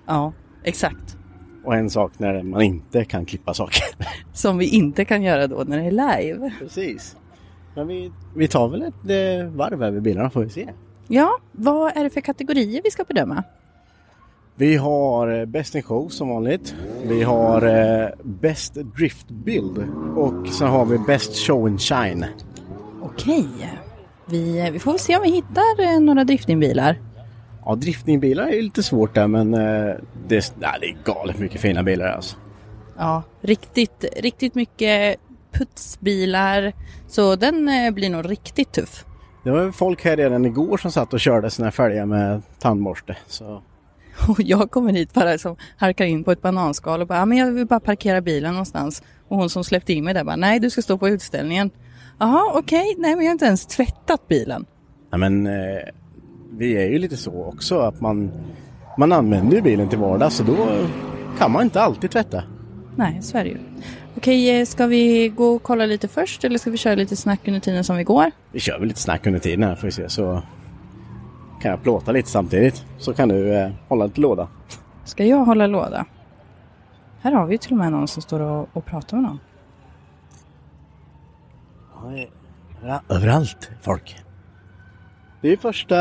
B: Ja, exakt.
A: och en sak när man inte kan klippa saker.
B: Som vi inte kan göra då när det är live.
A: Precis. Men vi, vi tar väl ett eh, varv över bilarna får vi se.
B: Ja, vad är det för kategorier vi ska bedöma?
A: Vi har eh, Best in Show som vanligt. Vi har eh, Best Drift Build och sen har vi Best Show and Shine.
B: Okej, vi, vi får väl se om vi hittar eh, några driftingbilar.
A: Ja, driftningbilar är ju lite svårt där men eh, det, nej, det är galet mycket fina bilar alltså.
B: Ja, riktigt, riktigt mycket putsbilar. Så den eh, blir nog riktigt tuff.
A: Det var ju folk här redan igår som satt och körde sina fälgar med tandborste. Så.
B: Och jag kommer hit bara som harkar in på ett bananskal och bara, "Ja, men jag vill bara parkera bilen någonstans. Och hon som släppte in mig där bara, nej du ska stå på utställningen. Jaha, okej, nej men jag har inte ens tvättat bilen.
A: Ja, men, eh, vi är ju lite så också att man, man använder ju bilen till vardags så då kan man inte alltid tvätta.
B: Nej, så är det ju. Okej, eh, ska vi gå och kolla lite först eller ska vi köra lite snack under tiden som vi går?
A: Vi kör väl lite snack under tiden här får vi se så kan jag plåta lite samtidigt så kan du eh, hålla lite låda.
B: Ska jag hålla låda? Här har vi ju till och med någon som står och, och pratar med någon.
A: Överallt folk. Det är ju första,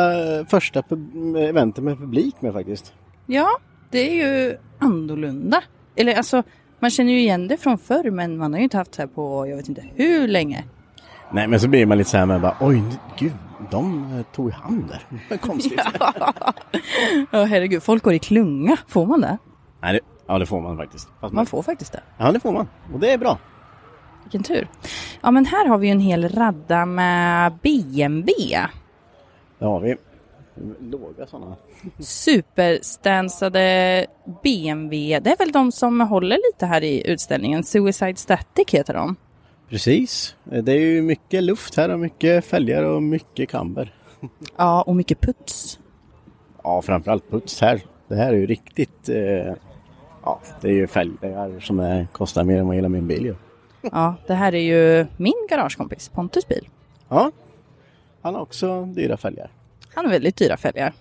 A: första pub- eventet med publik med faktiskt.
B: Ja, det är ju annorlunda. Eller alltså, man känner ju igen det från förr men man har ju inte haft det här på jag vet inte hur länge.
A: Nej men så blir man lite så här med bara oj gud de eh, tog i hand där. Konstigt.
B: Ja, herregud, folk går i klunga. Får man det?
A: Nej, det, ja det får man faktiskt. Fast
B: Man får faktiskt det.
A: Ja det får man och det är bra.
B: Vilken tur. Ja, men här har vi ju en hel radda med BMW.
A: Det har vi. Låga sådana.
B: Superstansade BMW. Det är väl de som håller lite här i utställningen. Suicide Static heter de.
A: Precis. Eh, Det är ju mycket luft här och mycket fälgar och mycket kamber.
B: Ja, och mycket puts.
A: Ja, framförallt puts här. Det här är ju riktigt... Eh, ja, det är ju fälgar som är, kostar mer än vad hela min bil gör.
B: Ja, det här är ju min garagekompis Pontus bil.
A: Ja, han har också dyra fälgar.
B: Han har väldigt dyra fälgar.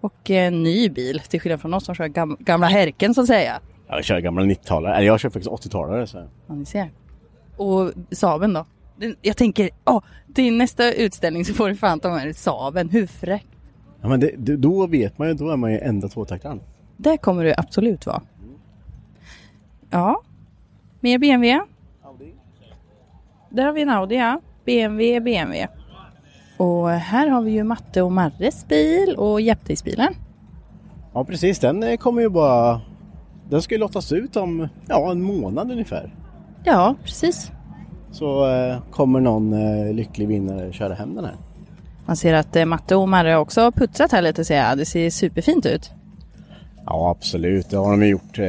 B: Och eh, ny bil, till skillnad från oss som kör gam- gamla härken så att säga.
A: Jag kör gamla 90-talare, eller jag kör faktiskt 80-talare. Så.
B: Ja, ni ser. Och Saben då? Den- Jag tänker, åh, till nästa utställning så får du fan ta med dig Saben. Hur fräckt?
A: Ja, men det, det- då vet man ju, då är man ju enda tvåtaktaren.
B: Det kommer du absolut vara. Ja. Mer BMW. Där har vi en Audi, ja. BMW, BMW. Och här har vi ju Matte och Marres bil och Jäptisbilen.
A: Ja, precis. Den eh, kommer ju bara... Den ska ju lottas ut om ja, en månad ungefär.
B: Ja, precis.
A: Så eh, kommer någon eh, lycklig vinnare köra hem den här.
B: Man ser att eh, Matte och Marre också har putsat här lite ser jag. Det ser superfint ut.
A: Ja, absolut. Det har de ju gjort. Eh,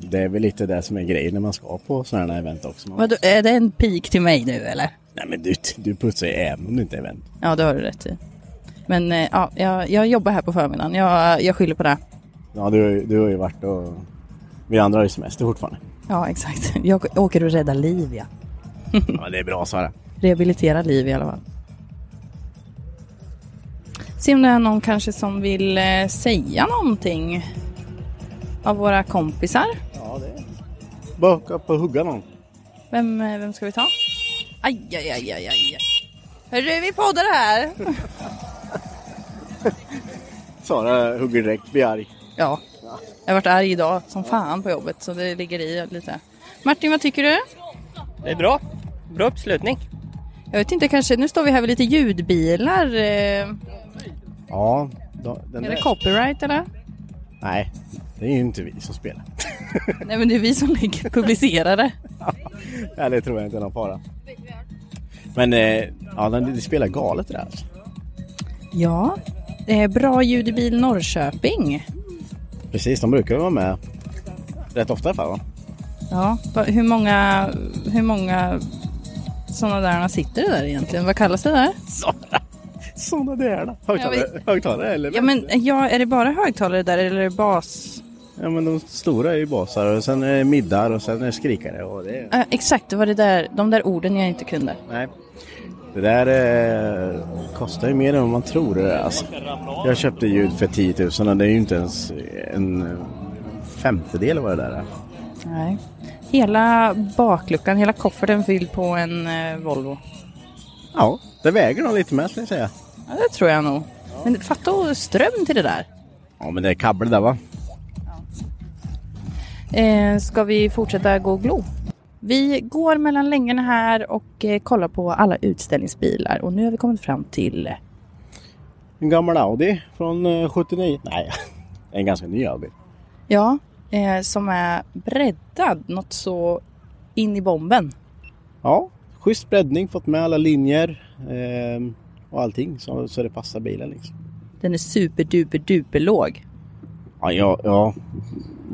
A: Det är väl lite det som är grejen när man ska på sådana här event också. Man-
B: Vadå, är det en pik till mig nu eller?
A: Nej, men du, du putsar ju även om det inte är event.
B: Ja, det har du rätt i. Men eh, ja, jag, jag jobbar här på förmiddagen. Jag, jag skyller på det.
A: Ja, du, du har ju varit och... Vi andra har ju semester fortfarande.
B: Ja, exakt. Jag åker och räddar liv, ja.
A: Ja, det är bra Sara.
B: Rehabilitera liv i alla fall. Se om det är någon kanske som vill eh, säga någonting av våra kompisar.
A: Ja, det är Bara upp och hugga någon.
B: Vem, eh, vem ska vi ta? Aj, aj, aj, aj, aj. Hörru, vi poddar här.
A: Sara hugger direkt, blir arg.
B: Ja. Jag har varit arg idag som fan på jobbet så det ligger i lite. Martin, vad tycker du?
D: Det är bra. Bra uppslutning.
B: Jag vet inte, kanske nu står vi här med lite ljudbilar. Eh,
A: Ja, då, den
B: är
A: där-
B: det copyright eller?
A: Nej, det är ju inte vi som spelar.
B: Nej men det är vi som lägger publicerade.
A: Nej, det tror jag inte är någon fara. Men eh, ja, den, det spelar galet det där. alltså.
B: Ja, eh, Bra ljud i bil Norrköping.
A: Precis, de brukar ju vara med rätt ofta i alla fall va?
B: Ja, va- hur många, hur många sådana där sitter det där egentligen? Vad kallas det där?
A: Såna där då.
B: Ja,
A: Högtalare, högtalare eller?
B: Ja men ja, är det bara högtalare där eller är det bas?
A: Ja men de stora är ju basar och sen är det middagar och sen är det skrikare och det är...
B: Eh, exakt, det var det där, de där orden jag inte kunde.
A: Nej. Det där eh, kostar ju mer än vad man tror det där, alltså. Jag köpte ljud för 10 000 och det är ju inte ens en femtedel av vad det där är.
B: Nej. Hela bakluckan, hela kofferten fylld på en eh, Volvo.
A: Ja, det väger nog lite med ska jag säga.
B: Ja, det tror jag nog. Men fatta och ström till det där.
A: Ja men det är kabel där va?
B: Eh, ska vi fortsätta gå och glo? Vi går mellan längorna här och eh, kollar på alla utställningsbilar och nu har vi kommit fram till
A: En gammal Audi från eh, 79. Nej, en ganska ny Audi.
B: Ja, eh, som är breddad något så in i bomben.
A: Ja, schysst breddning, fått med alla linjer ehm, och allting så, så det passar bilen liksom.
B: Den är superduper duper låg.
A: Ja, jag, ja,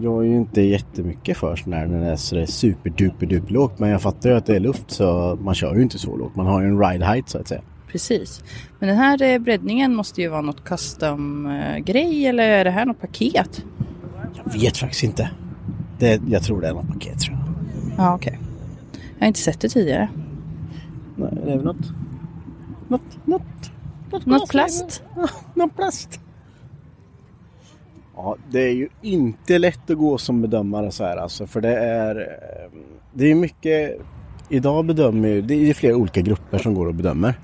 A: jag är ju inte jättemycket för sån här när det är sådär superduper lågt men jag fattar ju att det är luft så man kör ju inte så lågt. Man har ju en ride height så att säga.
B: Precis. Men den här eh, breddningen måste ju vara något custom-grej eller är det här något paket?
A: Jag vet faktiskt inte. Det, jag tror det är något paket tror jag.
B: Ja, okej. Jag har inte sett det tidigare.
A: Nej, det är väl något. Något, något.
B: Något plast?
A: Någon plast. Ja, det är ju inte lätt att gå som bedömare så här alltså för det är eh, Det är mycket Idag bedömer ju, det är flera olika grupper som går och bedömer.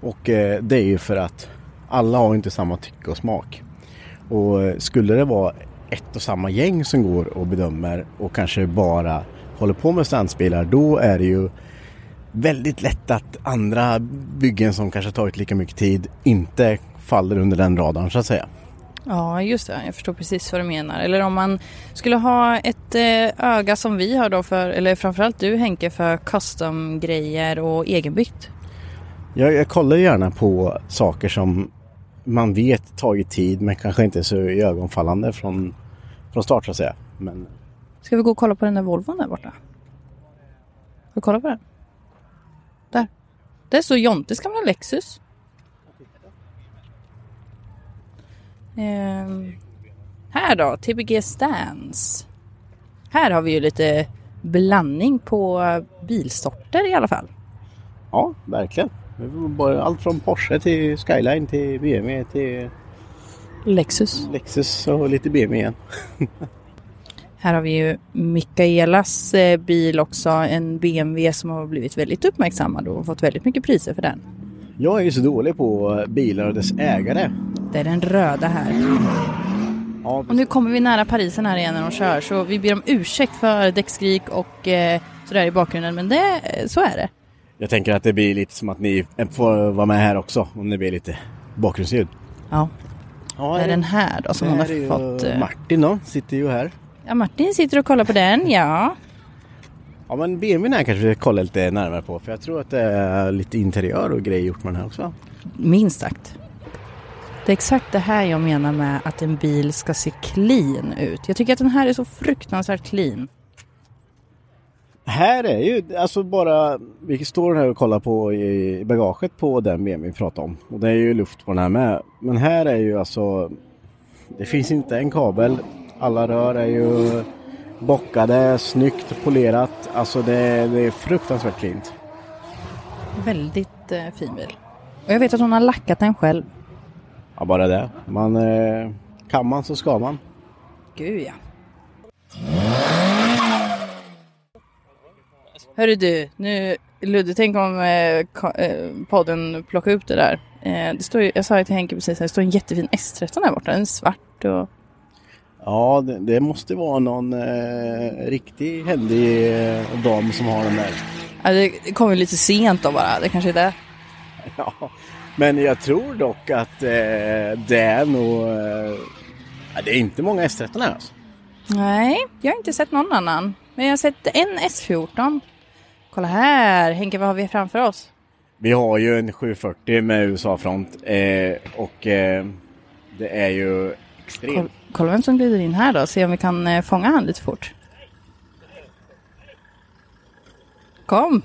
A: Och eh, det är ju för att alla har inte samma tycke och smak. Och eh, skulle det vara ett och samma gäng som går och bedömer och kanske bara håller på med stansbilar då är det ju väldigt lätt att andra byggen som kanske tagit lika mycket tid inte faller under den radarn så att säga.
B: Ja, just det. Jag förstår precis vad du menar. Eller om man skulle ha ett eh, öga som vi har då för, eller framförallt du Henke, för custom-grejer och egenbyggt.
A: Jag, jag kollar gärna på saker som man vet tagit tid men kanske inte är så ögonfallande från, från start så att säga. Men
B: Ska vi gå och kolla på den där Volvon där borta? Ska vi kolla på den? Där. Där står Jontes gamla Lexus. Ehm, här då, TBG Stance. Här har vi ju lite blandning på bilsorter i alla fall.
A: ja, verkligen. Det var bara Allt från Porsche till Skyline till BMW till
B: Lexus.
A: Lexus och lite BMW igen.
B: Här har vi ju Mikaelas eh, bil också, en BMW som har blivit väldigt uppmärksammad och fått väldigt mycket priser för den.
A: Jag är ju så dålig på bilar och dess ägare.
B: Det är den röda här. Och nu kommer vi nära Parisen här igen när de kör så vi ber om ursäkt för däckskrik och eh, sådär i bakgrunden men det, eh, så är det.
A: Jag tänker att det blir lite som att ni får vara med här också om det blir lite bakgrundsljud.
B: Ja.
A: ja
B: det är den här då som hon har
A: Här är ju
B: fått. eh,
A: Martin då, sitter ju här.
B: Ja, Martin sitter och kollar på den, ja.
A: Ja men BMWn här kanske vi kollar lite närmare på för jag tror att det är lite interiör och grejer gjort med den här också.
B: Minst sagt. Det är exakt det här jag menar med att en bil ska se clean ut. Jag tycker att den här är så fruktansvärt clean.
A: Här är ju alltså bara, vi står här och kollar på i i bagaget på den BMW vi pratade om. Och det är ju luft på den här med. Men här är ju alltså, det finns inte en kabel. Alla rör är ju bockade, snyggt polerat. Alltså det, det är fruktansvärt fint.
B: Väldigt eh, fin bil. Och jag vet att hon har lackat den själv.
A: Ja bara det. Man, eh, kan man så ska man.
B: Gud ja. Hörru du, nu Ludde, tänk om eh, ka, eh, podden plockar upp det där. Eh, det står ju, jag sa ju till Henke precis här, det står en jättefin S13 där borta, den är svart och...
A: Ja, det, det måste vara någon eh, riktig händig eh, dam som har den där.
B: Ja, det kom ju lite sent då bara, det kanske är det.
A: Ja, men jag tror dock att eh, det är nog... Eh, ja, det är inte många S13 här alltså.
B: Nej, jag har inte sett någon annan. Men jag har sett en S14. Kolla här, Henke, vad har vi framför oss?
A: Vi har ju en 740 med USA-front eh, och eh, det är ju extremt.
B: Kolla, kolla vem som glider in här då, se om vi kan eh, fånga han lite fort. Kom!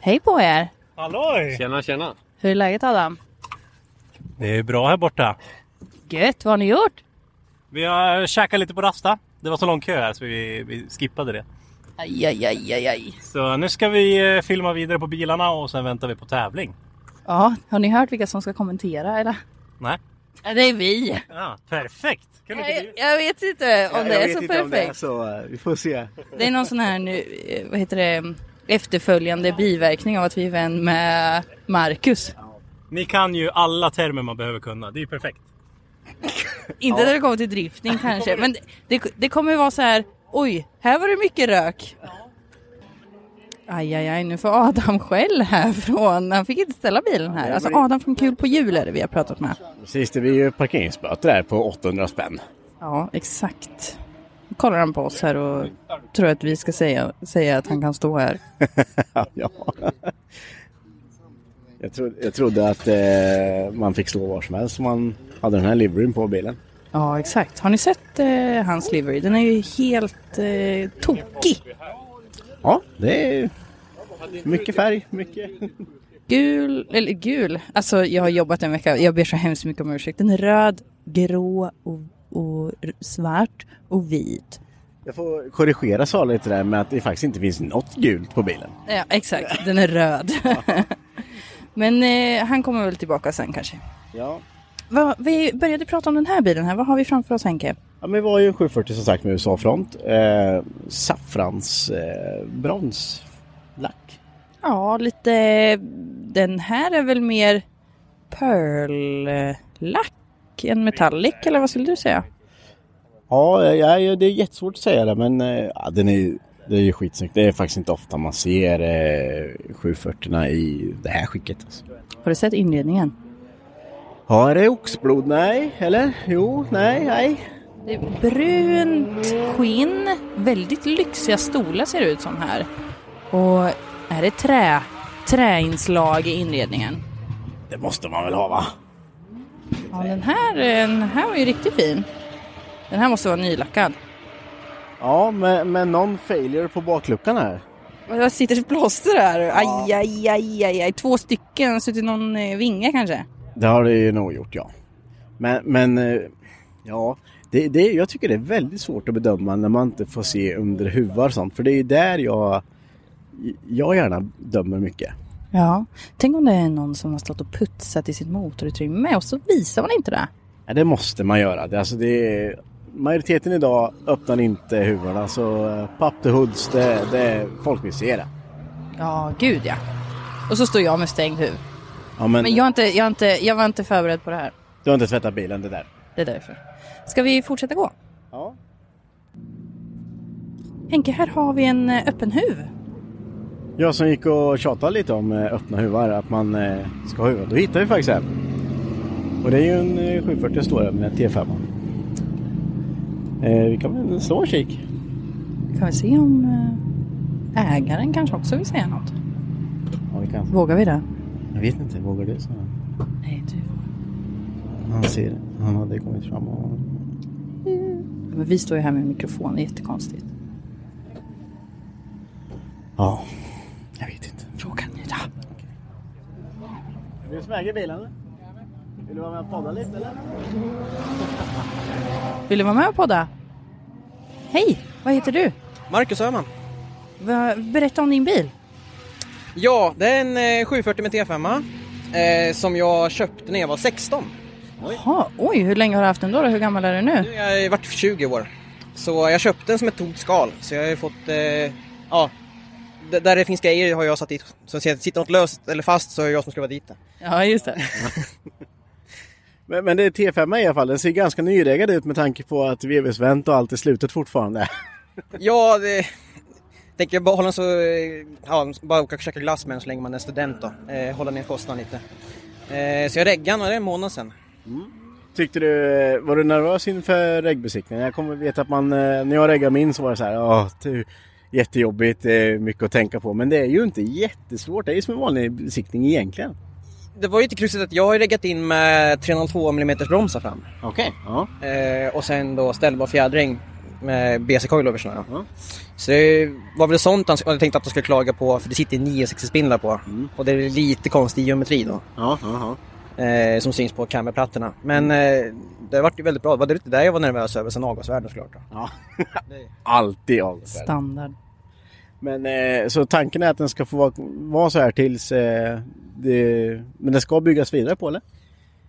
B: Hej på er!
G: Halloj!
H: Tjena, tjena!
B: Hur är läget Adam?
G: Det är bra här borta.
B: Gött, vad har ni gjort?
G: Vi har käkat lite på Rasta. Det var så lång kö här så vi, vi skippade det.
B: Aj, aj, aj, aj, aj.
G: Så nu ska vi eh, filma vidare på bilarna och sen väntar vi på tävling.
B: Ja, har ni hört vilka som ska kommentera eller?
G: Nej.
B: Det är vi!
G: Ja, perfekt! Kan inte
B: Jag, jag vet inte om det är så perfekt.
A: så eh, vi får se.
B: Det är någon sån här nu, eh, vad heter det, efterföljande biverkning av att vi är vän med Marcus.
G: Ni kan ju alla termer man behöver kunna. Det är ju perfekt.
B: Inte när det kommer till driftning kanske, men det, det kommer vara så här, oj, här var det mycket rök. Aj, aj, aj, nu får Adam skäll härifrån. Han fick inte ställa bilen här. Alltså Adam från Kul på Jul är det vi har pratat med.
A: Precis, det blir ju parkeringsböter här på 800 spänn.
B: Ja, exakt. Nu kollar han på oss här och tror att vi ska säga, säga att han kan stå här.
A: ja. Jag, tro, jag trodde att eh, man fick slå var som helst om man hade den här liveryn på bilen.
B: Ja, exakt. Har ni sett eh, hans livery? Den är ju helt eh, tokig.
A: Ja, det är mycket färg, mycket...
B: Gul, eller gul, alltså jag har jobbat en vecka, jag ber så hemskt mycket om ursäkt. Den är röd, grå och, och r- svart och vit.
A: Jag får korrigera Sara lite där med att det faktiskt inte finns något gult på bilen.
B: Ja, exakt, den är röd. Men eh, han kommer väl tillbaka sen kanske.
A: Ja.
B: Vad- vi började prata om den här bilen här, vad har vi framför oss Henke?
A: Ja, men det var ju en 740 som sagt med USA-front. Eh, saffrans eh, bronslack.
B: Ja, lite, den här är väl mer pearl-lack än metallic, eller vad skulle du säga?
A: Ja, ja, ja, det är jättesvårt att säga det men eh, ja, den är, ju- det är ju skitsnyggt. Det är faktiskt inte ofta man ser eh, 740 i det här skicket. Alltså.
B: Har du sett inredningen?
A: Ja, är det oxblod? Nej, eller? Jo, nej, nej.
B: Det är brunt skinn. Väldigt lyxiga stolar ser det ut som här. Och är det trä? Träinslag i inredningen.
A: Det måste man väl ha va?
B: Ja, den här, eh, den här var ju riktigt fin. Den här måste vara nylackad.
A: Ja, med, med någon failure på bakluckan här.
B: Vad sitter det för plåster här? Aj, aj, aj, aj, aj. Två stycken. Suttit någon eh, vinge kanske?
A: Det har det ju nog gjort, ja. Men, men eh, ja, det, det, jag tycker det är väldigt svårt att bedöma när man inte får se under huvar och sånt. För det är ju där jag, jag gärna dömer mycket.
B: Ja. Tänk om det är någon som har stått och putsat i sitt motorutrymme och så visar man inte det.
A: Ja, det måste man göra. Det, alltså det är, majoriteten idag öppnar inte huvudarna så eh, papp the hoods, det, det är folk vill se det.
B: Ja, gud ja. Och så står jag med stängd huvud.
A: Ja, men,
B: Men jag, är inte, jag, är inte, jag var inte förberedd på det här.
A: Du har inte tvättat bilen, det där.
B: Det är därför. Ska vi fortsätta gå?
A: Ja.
B: Henke, här har vi en eh, öppen huv.
A: Jag som gick och tjatade lite om eh, öppna huvar, att man eh, ska ha huvud. Då hittade vi faktiskt en. Och det är ju en eh, 740 står det med T5. Eh, vi kan väl slå en kik.
B: Kan vi se om eh, ägaren kanske också vill säga något?
A: Ja, vi kan.
B: Vågar vi det?
A: Jag vet inte, vågar du? Så.
B: Nej, du.
A: Han ser, han hade kommit fram och...
B: Men vi står ju här med mikrofon, det är jättekonstigt.
A: Ja, jag vet inte.
B: Frågan är det.
A: Du som äger bilen? Vill du vara med och podda lite eller?
B: Vill du vara med och podda? Hej, vad heter du?
I: Marcus Öhman.
B: Va, berätta om din bil.
I: Ja, det är en eh, 740 med T5 eh, som jag köpte när jag var 16.
B: Jaha, oj, hur länge har du haft den då? då? Hur gammal är du
I: Nu
B: nu?
I: har jag varit 20 år. Så jag köpte den som ett tomt skal. Så jag har ju fått, eh, ja, d- där det finns grejer har jag satt dit. Så sitter något löst eller fast så är det jag som skruvar dit det.
B: Ja, just det.
A: Men, men det är T5 i alla fall. Den ser ganska nyreggad ut med tanke på att VV-vänt och allt är slutet fortfarande.
I: Ja, det... Tänker jag behålla den så... eh, Ja, bara åka och käka glass med den så länge man är student då. Eh, hålla ner kostnaden lite. Eh, så jag reggade den, och det är en månad sedan.
A: Tyckte du, var du nervös inför regbesiktningen? Jag kommer veta att man, eh, när jag reggade min så var det så här, ja, det är jättejobbigt, det är mycket att tänka på. Men det är ju inte jättesvårt, det är ju som en vanlig besiktning egentligen.
I: Det var ju lite kruxigt att jag har ju reggat in med 302 mm bromsar fram.
A: Okej.
I: Eh, och sen då ställbar fjädring med BC coilovers. Ja. Så det var väl sånt han jag tänkte att de skulle klaga på för det sitter 960-spindlar på. Och det är lite konstig geometri då.
A: Ja, ja,
I: Eh, som syns på kameraplattorna. Men eh, det vart ju väldigt bra. Det var det där jag var nervös över sen avgasvärden såklart. Då.
A: Ja. Alltid avgasvärden.
B: Standard.
A: Men eh, så tanken är att den ska få vara, vara så här tills eh, det, men den ska byggas vidare på eller?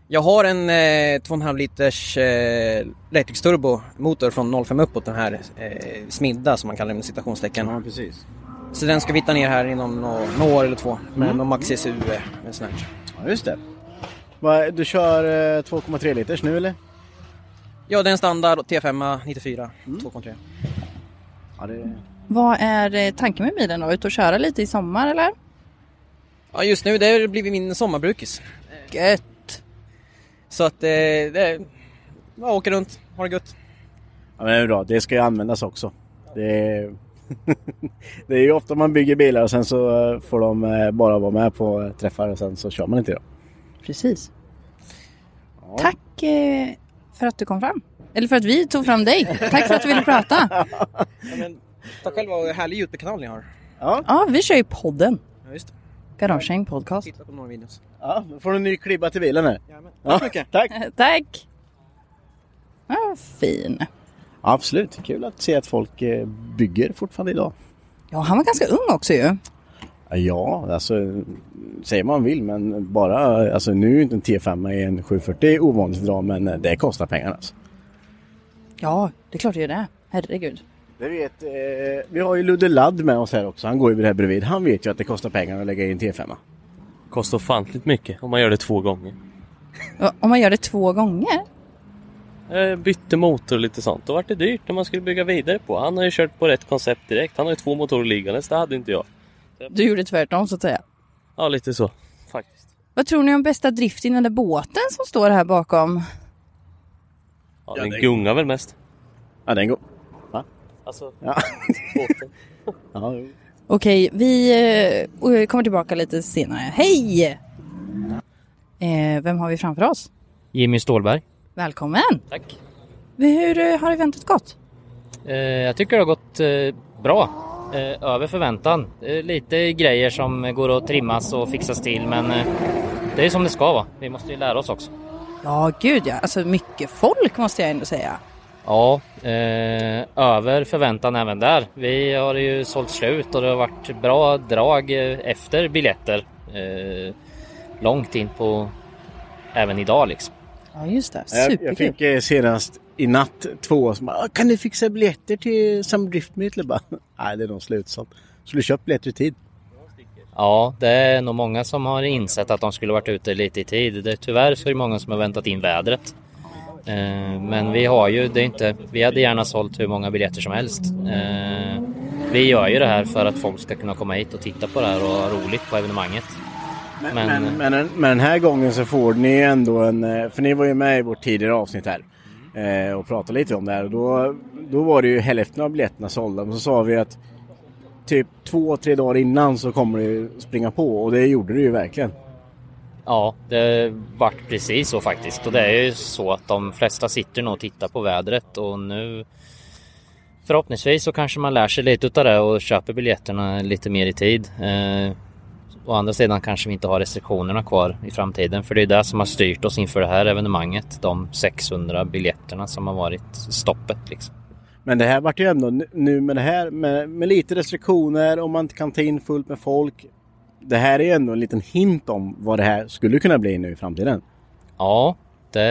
I: Jag har en eh, 2,5 liters eh, Latex turbo motor från 05 uppåt den här eh, smidda som man kallar den med citationstecken.
A: Ja, precis.
I: Så den ska vi hitta ner här inom nå- några år eller två med
A: Mm.
I: någon Maxi SU eh, med sån här.
A: Ja, just det. Va, du kör eh, 2,3 liters nu eller?
I: Ja, det är en standard T5 94 2,3.
A: Ja, det...
B: Vad är eh, tanken med bilen då? Ut och köra lite i sommar eller?
I: ja, just nu det har blivit min sommarbrukis.
B: Gött!
I: Så att eh, det är... Jag åker runt, har det gött.
A: Ja, men det är bra. Det ska ju användas också. Det är, det är ju ofta man bygger bilar och sen så eh, får de eh, bara vara med på eh, träffar och sen så kör man inte då.
B: Precis. Tack eh, för att du kom fram. Eller för att vi tog fram dig. Tack för att du ville prata.
I: Tack själv vad härlig Youtube-kanal ni har.
A: Ja,
B: ja vi kör ju podden.
I: Ja, just det.
B: Garagehäng podcast.
I: Titta på några videos.
A: Ja, då får du en ny klibba till bilen här.
I: Tack så mycket.
A: Tack.
B: Tack. Ja, fin.
A: Absolut. Kul att se att folk eh, bygger fortfarande idag.
B: Ja, han var ganska ung också ju.
A: Ja, alltså säger man vill men bara alltså nu är inte en T5 i en 740 ovanligt idag men eh, det kostar pengar alltså.
B: Ja, det är klart det gör det. Herregud.
A: Det vet, eh, vi har ju Ludde Ladd med oss här också. Han går ju här bredvid. Han vet ju att det kostar pengar att lägga in T5.
J: Kostar ofantligt mycket om man gör det två gånger.
B: Ja, Om man gör det två gånger.
J: Eh, bytte motor och lite sånt. Då vart det dyrt när man skulle bygga vidare på. Han har ju kört på rätt koncept direkt. Han har ju två motorer liggandes. Det hade inte jag.
B: Du gjorde tvärtom så att säga.
J: Ja, lite så faktiskt.
K: Vad tror ni om bästa drifting eller båten som står här bakom?
J: Ja, den gungar väl mest.
A: Ja, den går.
J: Va? Alltså,
A: ja.
J: båten.
A: ja, jo.
K: Okej, vi eh, eh, kommer tillbaka lite senare. Hej! Eh, vem har vi framför oss?
L: Jimmy Stålberg.
K: Välkommen!
L: Tack.
K: Hur eh, har eventet gått?
L: Eh, jag tycker det har gått eh, bra. Eh, över förväntan. Eh, lite grejer som går att trimmas och fixas till men eh, det är som det ska vara. Vi måste ju lära oss också.
K: Ja, gud ja. Alltså mycket folk måste jag ändå säga.
L: Ja, eh, över förväntan även där. Vi har ju sålt slut och det har varit bra drag eh, efter biljetter. Eh, långt in på även idag liksom.
K: Ja, just det.
A: Jag, jag
K: Superkul.
A: fick eh, senast i natt två som bara, "Ah, kan ni fixa biljetter till Summer Drift Meet? Jag bara, Nej, det är nog slutsamt. Så du köpt biljetter i tid?
L: Ja, det är nog många som har insett att de skulle varit ute lite i tid. Det, tyvärr så är det många som har väntat in vädret. Eh, Men vi har ju, det är inte, vi hade gärna sålt hur många biljetter som helst. Eh, Vi gör ju det här för att folk ska kunna komma hit och titta på det här och ha roligt på evenemanget. Men,
A: Men, men, den- men den här gången så får ni ändå en... eh, För ni var ju med i vårt tidigare avsnitt här eh, och pratade lite om det här. Och då, då var det ju hälften av biljetterna sålda. Men så sa vi att typ två, tre dagar innan så kommer det ju springa på. Och det gjorde det ju verkligen.
L: ja, det vart precis så faktiskt. Och det är ju så att de flesta sitter nog och tittar på vädret och nu förhoppningsvis så kanske man lär sig lite utav det och köper biljetterna lite mer i tid. Eh, å andra sidan kanske vi inte har restriktionerna kvar i framtiden för det är det som har styrt oss inför det här evenemanget. De 600 biljetterna som har varit stoppet liksom.
A: Men det här vart ju ändå nu- nu med det här med, med lite restriktioner och man inte kan ta in fullt med folk. Det här är ju ändå en liten hint om vad det här skulle kunna bli nu i framtiden.
L: Ja, det,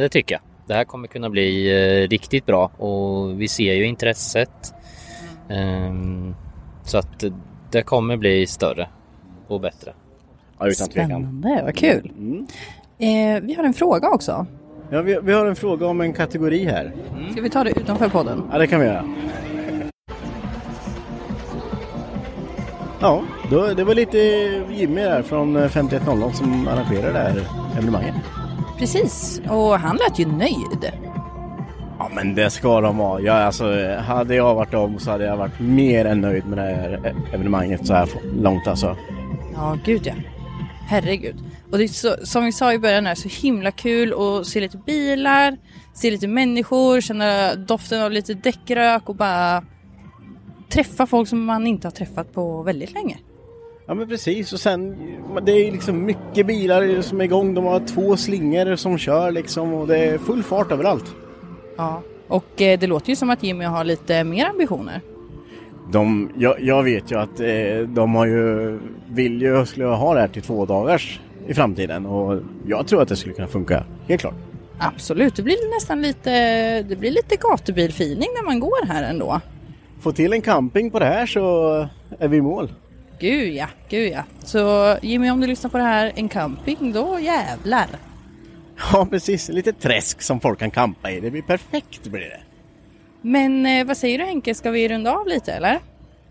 L: det tycker jag. Det här kommer kunna bli eh, riktigt bra och vi ser ju intresset. Ehm, så att det kommer bli större och bättre.
A: Ja,
K: Spännande, vad kul.
A: Mm.
K: Eh, vi har en fråga också.
A: Ja, vi, vi har en fråga om en kategori här.
K: Ska vi ta det utanför podden?
A: Ja, det kan vi göra. Ja, då, det var lite Jimmy där från eh, 5100 som arrangerar det här evenemanget.
K: Precis, och han lät ju nöjd.
A: Ja, men det ska de vara. Jag, alltså, hade jag varit dem så hade jag varit mer än nöjd med det här e-, evenemanget så här långt alltså.
K: Ja, gud ja. Herregud. Och det är så, som vi sa i början här, så himla kul att se lite bilar, se lite människor, känna doften av lite däckrök och bara träffa folk som man inte har träffat på väldigt länge.
A: Ja men precis och sen det är liksom mycket bilar som är igång. De har två slingor som kör liksom och det är full fart överallt.
K: Ja, och eh, det låter ju som att Jimmy har lite mer ambitioner.
A: De, jag, jag vet ju att eh, de har ju, vill ju, skulle ju ha det här till två dagars i framtiden och jag tror att det skulle kunna funka, helt klart.
K: Absolut, det blir nästan lite, det blir lite gatubilfeeling när man går här ändå.
A: Få till en camping på det här så är vi i mål.
K: Gud ja, gud ja. Så Jimmy om du lyssnar på det här, en camping, då jävlar.
A: Ja precis, lite träsk som folk kan campa i. Det blir perfekt blir det.
K: Men eh, vad säger du Henke, ska vi runda av lite eller?